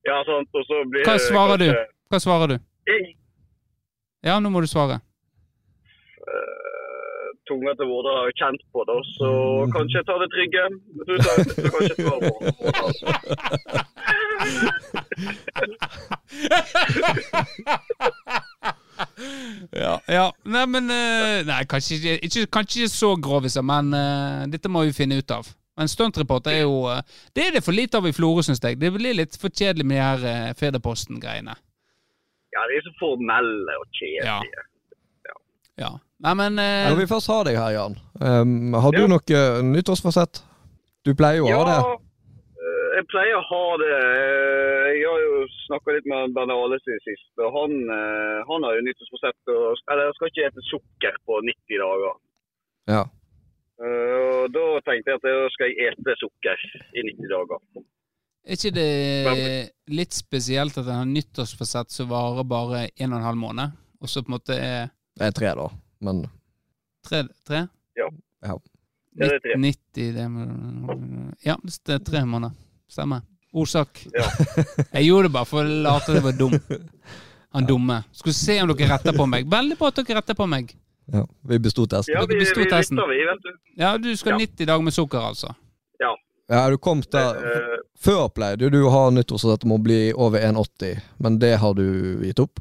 [SPEAKER 7] Ja, sant. Og så blir
[SPEAKER 4] Hva
[SPEAKER 7] det
[SPEAKER 4] svarer du?
[SPEAKER 7] kanskje-
[SPEAKER 4] Hva svarer du?
[SPEAKER 7] Jeg,
[SPEAKER 4] Ja, nå må du svare.
[SPEAKER 7] eh, tunga til Vårdal har jeg kjent på det, så kanskje jeg tar det trygge. Du tar du tar kanskje svar på Vårdal.
[SPEAKER 4] Ja. Nei, men eh, Nei, kanskje ikke, ikke, kanskje ikke så groviser, men eh, dette må vi finne ut av. Men stuntreporter er jo eh, Det er det for lite av i Florø, syns jeg. Det blir litt for kjedelig med de her eh, Federposten-greiene.
[SPEAKER 7] Ja, de er så formelle og kjedelige.
[SPEAKER 4] Ja. Nei, men eh,
[SPEAKER 3] Når vi først har deg her, Jan, um, har du
[SPEAKER 7] Ja.
[SPEAKER 3] noe nyttårsfasett? Du pleier jo å ha det.
[SPEAKER 7] eh, Jeg pleier å ha det. Eh, Jeg har jo snakka litt med Berne Alesen sist. og Han, eh, han har jo nyttårsforsett og- Eller jeg skal ikke spise sukker på 90 dager.
[SPEAKER 3] Ja.
[SPEAKER 7] Eh, Og da tenkte jeg at da skal jeg ete sukker i 90 dager.
[SPEAKER 4] er ikke det litt spesielt at en har nyttårsfasett som varer bare en og en halv måned, og så på en måte er
[SPEAKER 3] Det er tre, da. Men
[SPEAKER 4] tre? tre?
[SPEAKER 7] Ja.
[SPEAKER 3] Ja.
[SPEAKER 7] Ja, det er tre.
[SPEAKER 4] 90, det Ja, det er tre måneder. Stemmer. Ordsak.
[SPEAKER 7] Ja.
[SPEAKER 4] Jeg gjorde det bare for å late det var dum. Han dumme. Skulle se om dere retter på meg. Veldig bra at dere retter på meg.
[SPEAKER 3] ja, vi besto testen.
[SPEAKER 7] Ja,
[SPEAKER 4] Dere
[SPEAKER 7] vi, vi
[SPEAKER 4] besto testen.
[SPEAKER 7] lytter, vi, vet du.
[SPEAKER 4] Ja, du skal
[SPEAKER 7] Ja.
[SPEAKER 4] 90 dager med sukker, altså.
[SPEAKER 3] Ja, du kom der
[SPEAKER 7] Eh,
[SPEAKER 3] Før pleide du å ha nyttårsfasett om å bli over 1,80, men det har du gitt opp?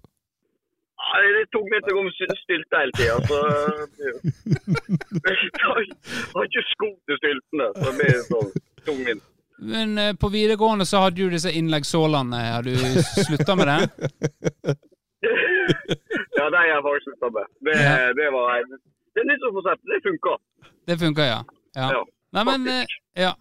[SPEAKER 7] Nei, det tok meg til å komme sy- stylte hele tida, så eh, Jeg har ikke- har ikke sko til styltene, så det blir sånn tungvint.
[SPEAKER 4] Men eh, på videregående så hadde du disse innleggssålene. Har du slutta med det?
[SPEAKER 7] Ja, de er faktisk slutta med. Det,
[SPEAKER 4] Ja.
[SPEAKER 7] det var en- Det er nyttårsforsett. Det funka.
[SPEAKER 4] Det funker, ja. ja.
[SPEAKER 7] Ja,
[SPEAKER 4] Nei, men, eh,
[SPEAKER 7] faktisk.
[SPEAKER 4] ja.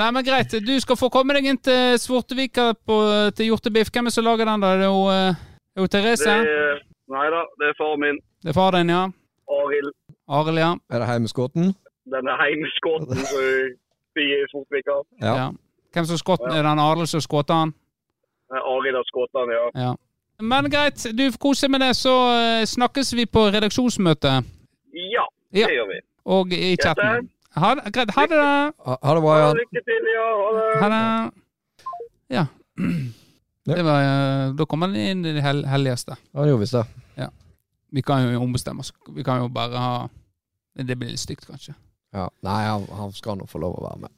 [SPEAKER 4] Nei, men greit. Du skal få komme deg inn til Svortevika på, til Hjortebiff. Hvem er det som lager den, da? Er det jo, eh, er det jo
[SPEAKER 7] Det
[SPEAKER 4] Therese?
[SPEAKER 7] er, nei da, det er far min.
[SPEAKER 4] Det er far din, ja.
[SPEAKER 7] Arild.
[SPEAKER 4] Arild, ja.
[SPEAKER 3] Er det heimeskåten?
[SPEAKER 7] Den er heimskåten som sier i Svortvika.
[SPEAKER 3] Ja.
[SPEAKER 4] ja. Hvem som skått, Er det han Arild som skåt han?
[SPEAKER 7] Eh, Arild har skutt den, ja.
[SPEAKER 4] Ja. Men greit, du får kose med det, så eh, snakkes vi på redaksjonsmøtet
[SPEAKER 7] Ja, det
[SPEAKER 4] Ja.
[SPEAKER 7] gjør vi.
[SPEAKER 4] og i chatten. Ha det, greit, ha det, da.
[SPEAKER 3] Ha, ha det bra, Jan.
[SPEAKER 7] Lykke til, ja. Ha det.
[SPEAKER 4] Ha det. Ja. Det var, eh, da kommer han inn i det hel helligste.
[SPEAKER 3] Ja, det gjorde visst det.
[SPEAKER 4] Vi kan jo ombestemme oss. Vi kan jo bare ha Det blir litt stygt, kanskje.
[SPEAKER 3] Ja. Nei, han, han skal nå få lov å være med.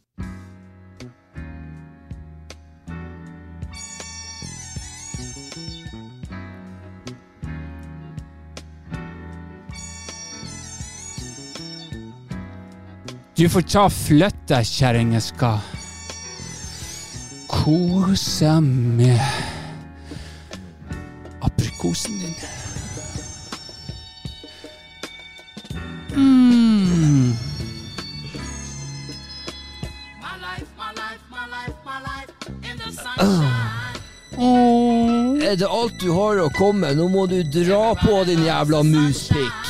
[SPEAKER 4] Du får ta fløtta, kjerringa skal kose med aprikosen din. Mm.
[SPEAKER 8] My life, my life, my life, my life in the sunshine.
[SPEAKER 4] Åh.
[SPEAKER 3] Er det alt du har å komme? Nå må du dra på, din jævla muspikk.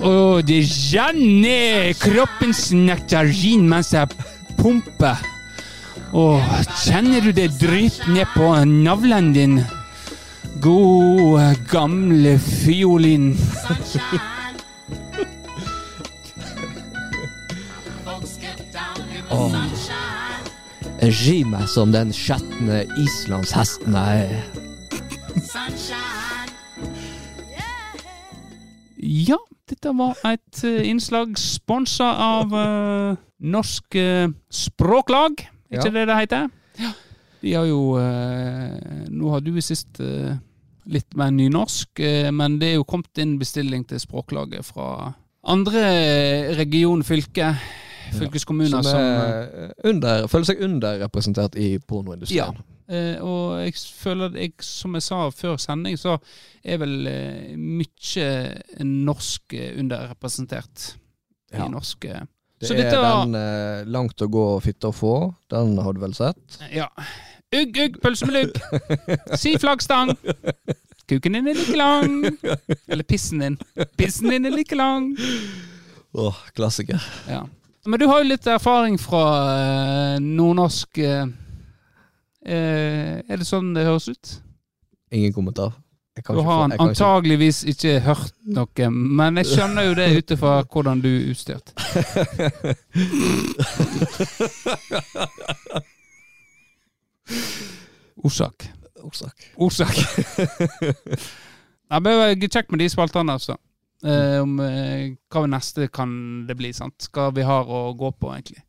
[SPEAKER 4] Og det renner ned Oh, kroppens nektarin mens jeg pumper. Og Oh, kjenner du det drypp ned på navlen din? Gode, gamle fiolin.
[SPEAKER 8] Sunshine. Folks get down in the sunshine.
[SPEAKER 3] Ri meg som den skjetne islandshesten jeg er.
[SPEAKER 8] Sunshine. Yeah.
[SPEAKER 4] Ja, dette var et eh, innslag sponsa av eh, Norsk eh, Språklag. Er
[SPEAKER 3] Ja.
[SPEAKER 4] ikke det det heter? De har jo eh, Nå har du sist eh, litt mer nynorsk, eh, men det er jo kommet inn bestilling til Språklaget fra andre region, fylke, fylkeskommuner
[SPEAKER 3] Som
[SPEAKER 4] som, eh,
[SPEAKER 3] er under, føler seg underrepresentert i pornoindustrien.
[SPEAKER 4] Eh, og jeg føler at jeg, som jeg sa før sending, så er vel eh, mye norsk eh, underrepresentert
[SPEAKER 3] Ja.
[SPEAKER 4] i norske
[SPEAKER 3] Det
[SPEAKER 4] Så
[SPEAKER 3] er
[SPEAKER 4] dette var
[SPEAKER 3] den eh, langt å gå og fitte å få. Den har du vel sett?
[SPEAKER 4] Ja. Ugg, ugg, pølse med lugg. Si flaggstang. Kuken din er like lang. Eller pissen din. Pissen din er like lang.
[SPEAKER 3] Åh, klassiker.
[SPEAKER 4] Ja. Men du har jo litt erfaring fra eh, nordnorsk eh, eh, Er det sånn det høres ut?
[SPEAKER 3] Ingen kommentar. Jeg kan
[SPEAKER 4] Du
[SPEAKER 3] ikke
[SPEAKER 4] har
[SPEAKER 3] få-
[SPEAKER 4] han
[SPEAKER 3] jeg kan ikke-
[SPEAKER 4] antageligvis ikke hørt noe, men jeg skjønner jo det ut ifra hvordan du er utstyrt. Orsak.
[SPEAKER 3] Orsak.
[SPEAKER 4] Orsak. Nei, men det var Kjekk med de spaltene, altså. Eh, om eh, hva neste kan det bli, sant? Hva vi har å gå på, egentlig.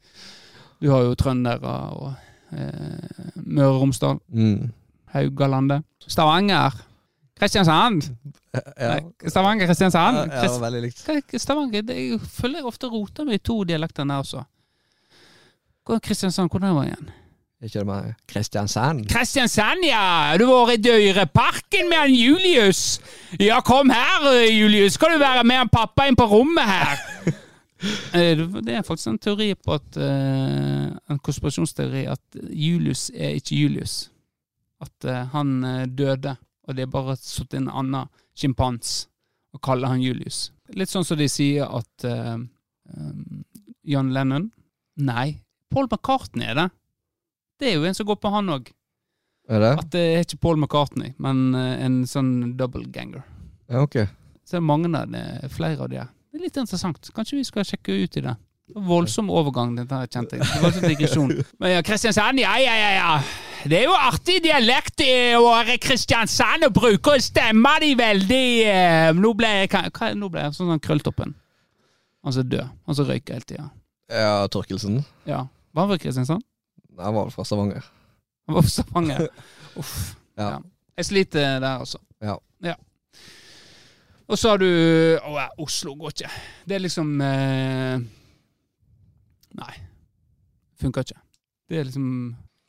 [SPEAKER 4] Du har jo trøndere og eh, Møre og Romsdal,
[SPEAKER 3] Mm.
[SPEAKER 4] Haugalandet, Stavanger, Kristiansand.
[SPEAKER 3] Ja.
[SPEAKER 4] Nei, Stavanger, Kristiansand.
[SPEAKER 3] Ja, ja, veldig likt.
[SPEAKER 4] Krist- Stavanger, det, jeg føler jeg ofte roter med de to dialektene her også. Hvor er Kristiansand, hvordan var det igjen?
[SPEAKER 3] Ikke det med Kristiansand?
[SPEAKER 4] Kristiansand, ja. Har du vært i Dyreparken med han Julius? Ja, kom her, Julius. Skal du være med han pappa inn på rommet her? Eh, det- Det er faktisk en teori på at eh, En konspirasjonsteori at Julius er ikke Julius. At eh, han eh, døde, og det er bare satt inn en annen sjimpans og kaller han Julius. Litt sånn som de sier at eh, um, John Lennon Nei, Paul McCartney er det. Det er jo en som går på han òg.
[SPEAKER 3] Er det?
[SPEAKER 4] At det er ikke Paul McCartney, men eh, en sånn double ganger.
[SPEAKER 3] Ja, ok.
[SPEAKER 4] Så det er mange av det, flere av de her. Det er litt interessant. Kanskje vi skal sjekke ut i det. Det var Voldsom overgang, dette her kjente jeg. Det var en digresjon. Men ja, Kristiansand, ja, ja, ja, ja. Det er jo artig dialekt eh, å være i Kristiansand og bruke stemma di veldig eh, Nå ble jeg hva, hva, nå ble jeg sånn som krølltoppen. Han som er død. Han som røyker hele tida.
[SPEAKER 3] Ja, Torkelsen.
[SPEAKER 4] Ja. Var han fra Kristiansand?
[SPEAKER 3] Han var fra Stavanger.
[SPEAKER 4] Han var fra Stavanger. Uff.
[SPEAKER 3] Ja.
[SPEAKER 4] Ja. Jeg sliter der, altså.
[SPEAKER 3] Ja.
[SPEAKER 4] Og så har du Å, ja, Oslo går ikke. Det er liksom eh, Nei. Funker ikke. Det er liksom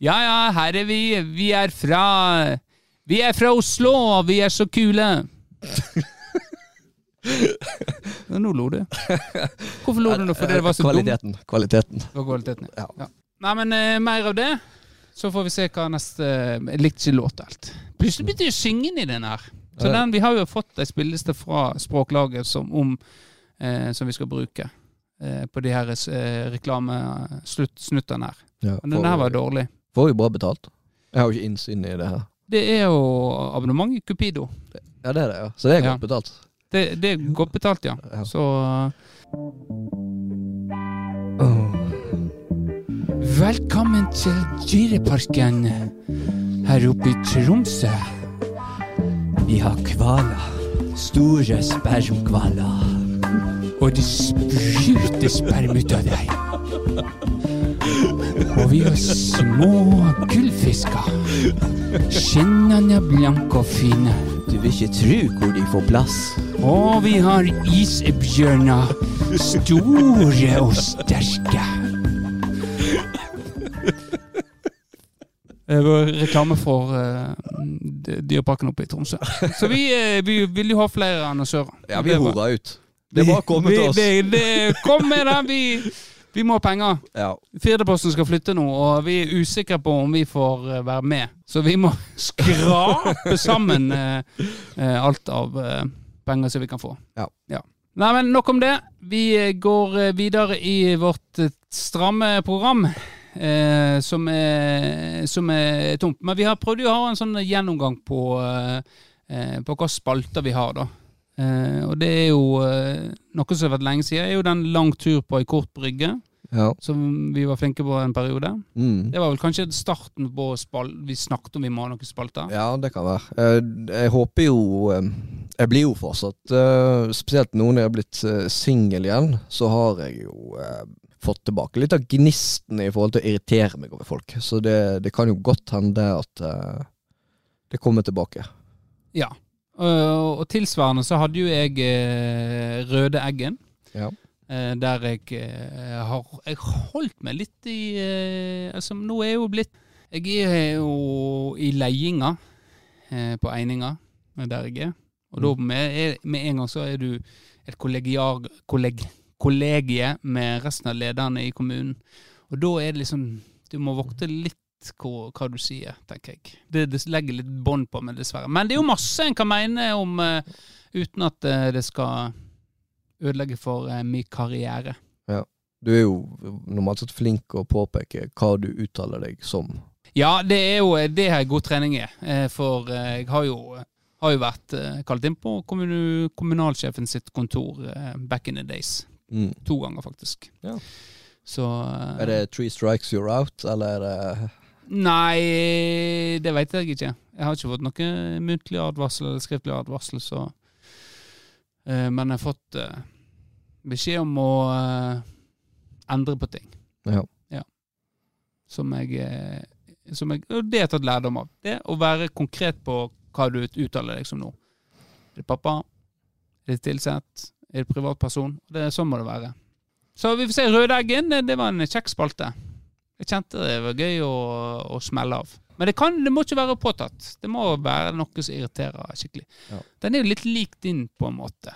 [SPEAKER 4] Ja ja, her er vi. Vi er fra Vi er fra Oslo, og vi er så kule. Ja, Nå lo du. Hvorfor lo du nå? Fordi det var så dumt?
[SPEAKER 3] Eh, Kvaliteten. Kvaliteten.
[SPEAKER 4] Det var kvaliteten, ja.
[SPEAKER 3] Ja.
[SPEAKER 4] ja. Nei, men eh, mer av det. Så får vi se hva neste eh, Jeg likte ikke låta helt. Plutselig begynte jeg å synge i den her. Så
[SPEAKER 3] Ja.
[SPEAKER 4] den, vi har jo fått ei spilleliste fra Språklaget som, om, eh, som vi skal bruke eh, på de her eh, reklamesnuttene her.
[SPEAKER 3] Ja,
[SPEAKER 4] Men den her var dårlig.
[SPEAKER 3] Får jo bra betalt. Jeg har jo ikke innsyn i det her.
[SPEAKER 4] Det er jo abonnement i Cupido.
[SPEAKER 3] Ja, det er det, ja. Så det er
[SPEAKER 4] Ja.
[SPEAKER 3] godt betalt.
[SPEAKER 4] Det, det er godt betalt, ja.
[SPEAKER 3] Ja.
[SPEAKER 4] Så eh, Velkommen til Dyreparken her oppe i Tromsø.
[SPEAKER 1] Vi har kvaler. Store spermkvaler.
[SPEAKER 4] Og det spruter sperm ut av deg. Og vi har små gullfisker. Skinnene er blanke og fine.
[SPEAKER 1] Du vil ikke tru hvor de får plass.
[SPEAKER 4] Og vi har isbjørner. Store og sterke. Det var Eh, reklame for eh, d- Dyreparken oppe i Tromsø. Så vi, eh, vi vil jo ha flere annonsører.
[SPEAKER 3] Ja, vi
[SPEAKER 4] Det var-
[SPEAKER 3] hora ut. Det var kommet til oss.
[SPEAKER 4] Det, det, det, kom med det! Vi, vi må ha penger.
[SPEAKER 3] Ja.
[SPEAKER 4] Firdaposten skal flytte nå, og vi er usikre på om vi får eh, være med. Så vi må skrape sammen eh, eh, alt av eh, penger som vi kan få.
[SPEAKER 3] Ja.
[SPEAKER 4] Nei, men nok om det. Vi eh, går eh, videre i vårt eh, stramme program. Eh, som, er, som er tomt. Men vi har prøvd å ha en sånn gjennomgang på, eh, eh, på hvilke spalter vi har, da. Eh, og det er jo eh, noe som har vært lenge siden, er jo den lang tur på ei kort brygge
[SPEAKER 3] ja.
[SPEAKER 4] som vi var flinke på en periode.
[SPEAKER 3] Mm.
[SPEAKER 4] Det var vel kanskje starten på spal vi snakket om vi må ha noen spalter.
[SPEAKER 3] ja, det kan være. Jeg, jeg håper jo eh, Jeg blir jo fortsatt eh, Spesielt nå når jeg er blitt eh, singel igjen, så har jeg jo eh, fått tilbake litt av gnisten i forhold til å irritere meg over folk. Så det, det kan jo godt hende at eh, det kommer tilbake.
[SPEAKER 4] Ja. Eh, Og, og tilsvarende så hadde jo jeg eh, Røde Eggen.
[SPEAKER 3] Ja.
[SPEAKER 4] Eh, der jeg eh, har Jeg holdt meg litt i eh, Altså, nå er jeg jo blitt Jeg er jo i leiinga eh, på Eininga, der jeg er. Og da med, er- med en gang så er du et kollegiar, kolleg, kollegie med resten av lederne i kommunen. Og da er det liksom Du må vokte litt uansett hvor, hva du sier, tenker jeg. Det, det legger litt bånd på meg, dessverre. Men det er jo masse en kan mene om eh, uten at eh, det skal ødelegge for eh, min karriere.
[SPEAKER 3] Du er jo normalt sett flink å påpeke hva du uttaler deg som.
[SPEAKER 4] Ja, det er jo eh, det her god trening er. eh, For eh, jeg har jo, har jo vært eh, kalt inn på kommun, kommunalsjefen sitt kontor eh, back in the days. To ganger, faktisk.
[SPEAKER 3] Ja.
[SPEAKER 4] Så eh,
[SPEAKER 3] Er det three strikes you're out, eller er det
[SPEAKER 4] Nei, det vet jeg ikke. Jeg har ikke fått noe muntlig advarsel eller skriftlig advarsel, så Eh, Men jeg har fått eh, beskjed om å eh, endre på ting
[SPEAKER 3] Ja.
[SPEAKER 4] som jeg, eh, som jeg Og det har jeg tatt lærdom av. Det å være konkret på hva du uttaler deg som nå. Er det pappa? Er det tilsett? Er det privatperson? Det, sånn må det være. Så vi får se. Rødeggen, det, det var en kjekk spalte. Jeg kjente det var gøy å, å smelle av. Men det, kan, det må ikke være påtatt. Det må være noe som irriterer skikkelig.
[SPEAKER 3] Ja.
[SPEAKER 4] Den er jo litt lik din, på en måte.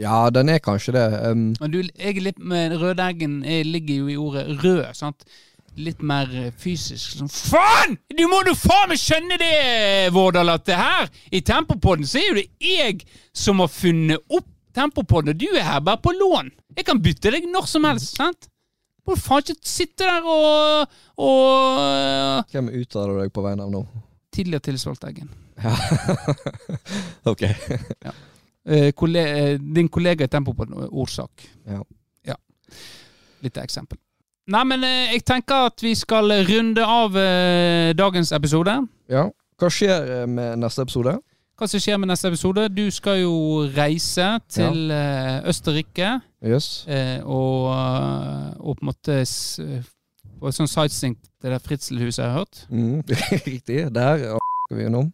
[SPEAKER 3] Ja, den er kanskje det. Um,
[SPEAKER 4] Men du, jeg er litt med rødeggen jeg ligger jo i ordet rød, sant? Litt mer eh, fysisk. Sånn, faen! Du må du faen meg skjønne det, Vårdal, at det her i Tempopodden så er jo det jeg som har funnet opp Tempopodden, og du er her bare på lån. Jeg kan bytte deg når som helst, sant? Må du faen ikke sitte der og, og eh,
[SPEAKER 3] hvem uttaler du deg på vegne av nå?
[SPEAKER 4] Tidligere tilsvalt Eggen.
[SPEAKER 3] Ja. ok.
[SPEAKER 4] Eh, kolle- eh, din kollega i Tempopodden, Ordsak.
[SPEAKER 3] Ja.
[SPEAKER 4] Litt eksempel. Nei, men eh, jeg tenker at vi skal runde av eh, dagens episode.
[SPEAKER 3] ja. Hva skjer eh, med neste episode?
[SPEAKER 4] Hva som skjer med neste episode? Du skal jo reise til eh, Østerrike
[SPEAKER 3] Yes.
[SPEAKER 4] eh, og, eh, og på en måte s- på en sånn sightseeing til det der Fritzelhuset jeg har hørt,
[SPEAKER 3] Mm. Riktig. Der og skal vi innom.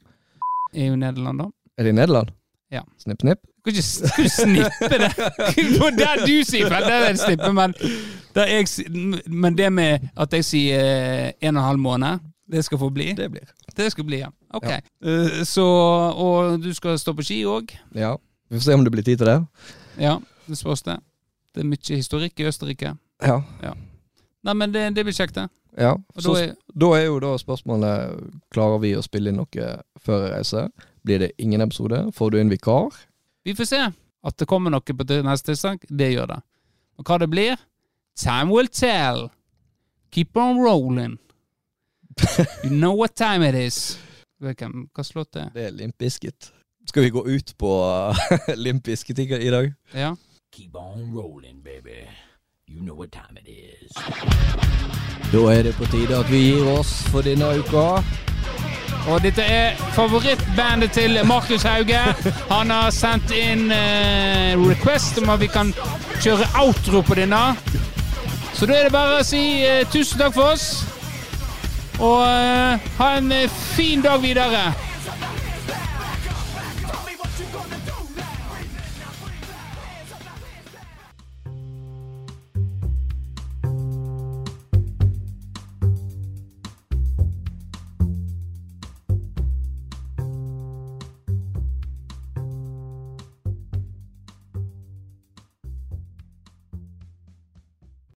[SPEAKER 4] er jo Nederland, da.
[SPEAKER 3] Er det i Nederland?
[SPEAKER 4] Ja.
[SPEAKER 3] Snipp, snipp.
[SPEAKER 4] Du kan ikke s- skal du snippe det på der du sier fra! Der er det snippe, men, der jeg, si- men det med at jeg sier eh, en og en halv måned, det skal få bli.
[SPEAKER 3] Det blir.
[SPEAKER 4] Det skal bli, ja. Ok.
[SPEAKER 3] Ja.
[SPEAKER 4] Eh, så, og du skal stå på ski òg?
[SPEAKER 3] Ja. Vi får se om det blir tid til det.
[SPEAKER 4] Ja, det spørs det. Det er mye historikk i Østerrike.
[SPEAKER 3] Ja.
[SPEAKER 4] Nei, men det, det blir kjekt, det.
[SPEAKER 3] ja.
[SPEAKER 4] Og
[SPEAKER 3] Så
[SPEAKER 4] da er,
[SPEAKER 3] Da er jo da spørsmålet Klarer vi å spille inn noe før jeg reiser. Blir det ingen episode? Får du inn vikar?
[SPEAKER 4] vi får se at det kommer noe på til- neste tirsdag. Det gjør det. Og hva det blir? Time will tell. Keep on rolling. You know what time it is. Vet du hvem- Hva slått det er?
[SPEAKER 3] Det er Limp Bizkit. Skal vi gå ut på Limp Bizkit i i dag?
[SPEAKER 4] Ja.
[SPEAKER 9] Keep on rolling, baby. You know what time it is.
[SPEAKER 1] Da er det på tide at vi gir oss for denne uka.
[SPEAKER 4] Og dette er favorittbandet til Markus Hauge. Han har sendt inn eh, request om at vi kan kjøre outro på denne. Så da er det bare å si eh, tusen takk for oss. Og eh, ha en eh, fin dag videre.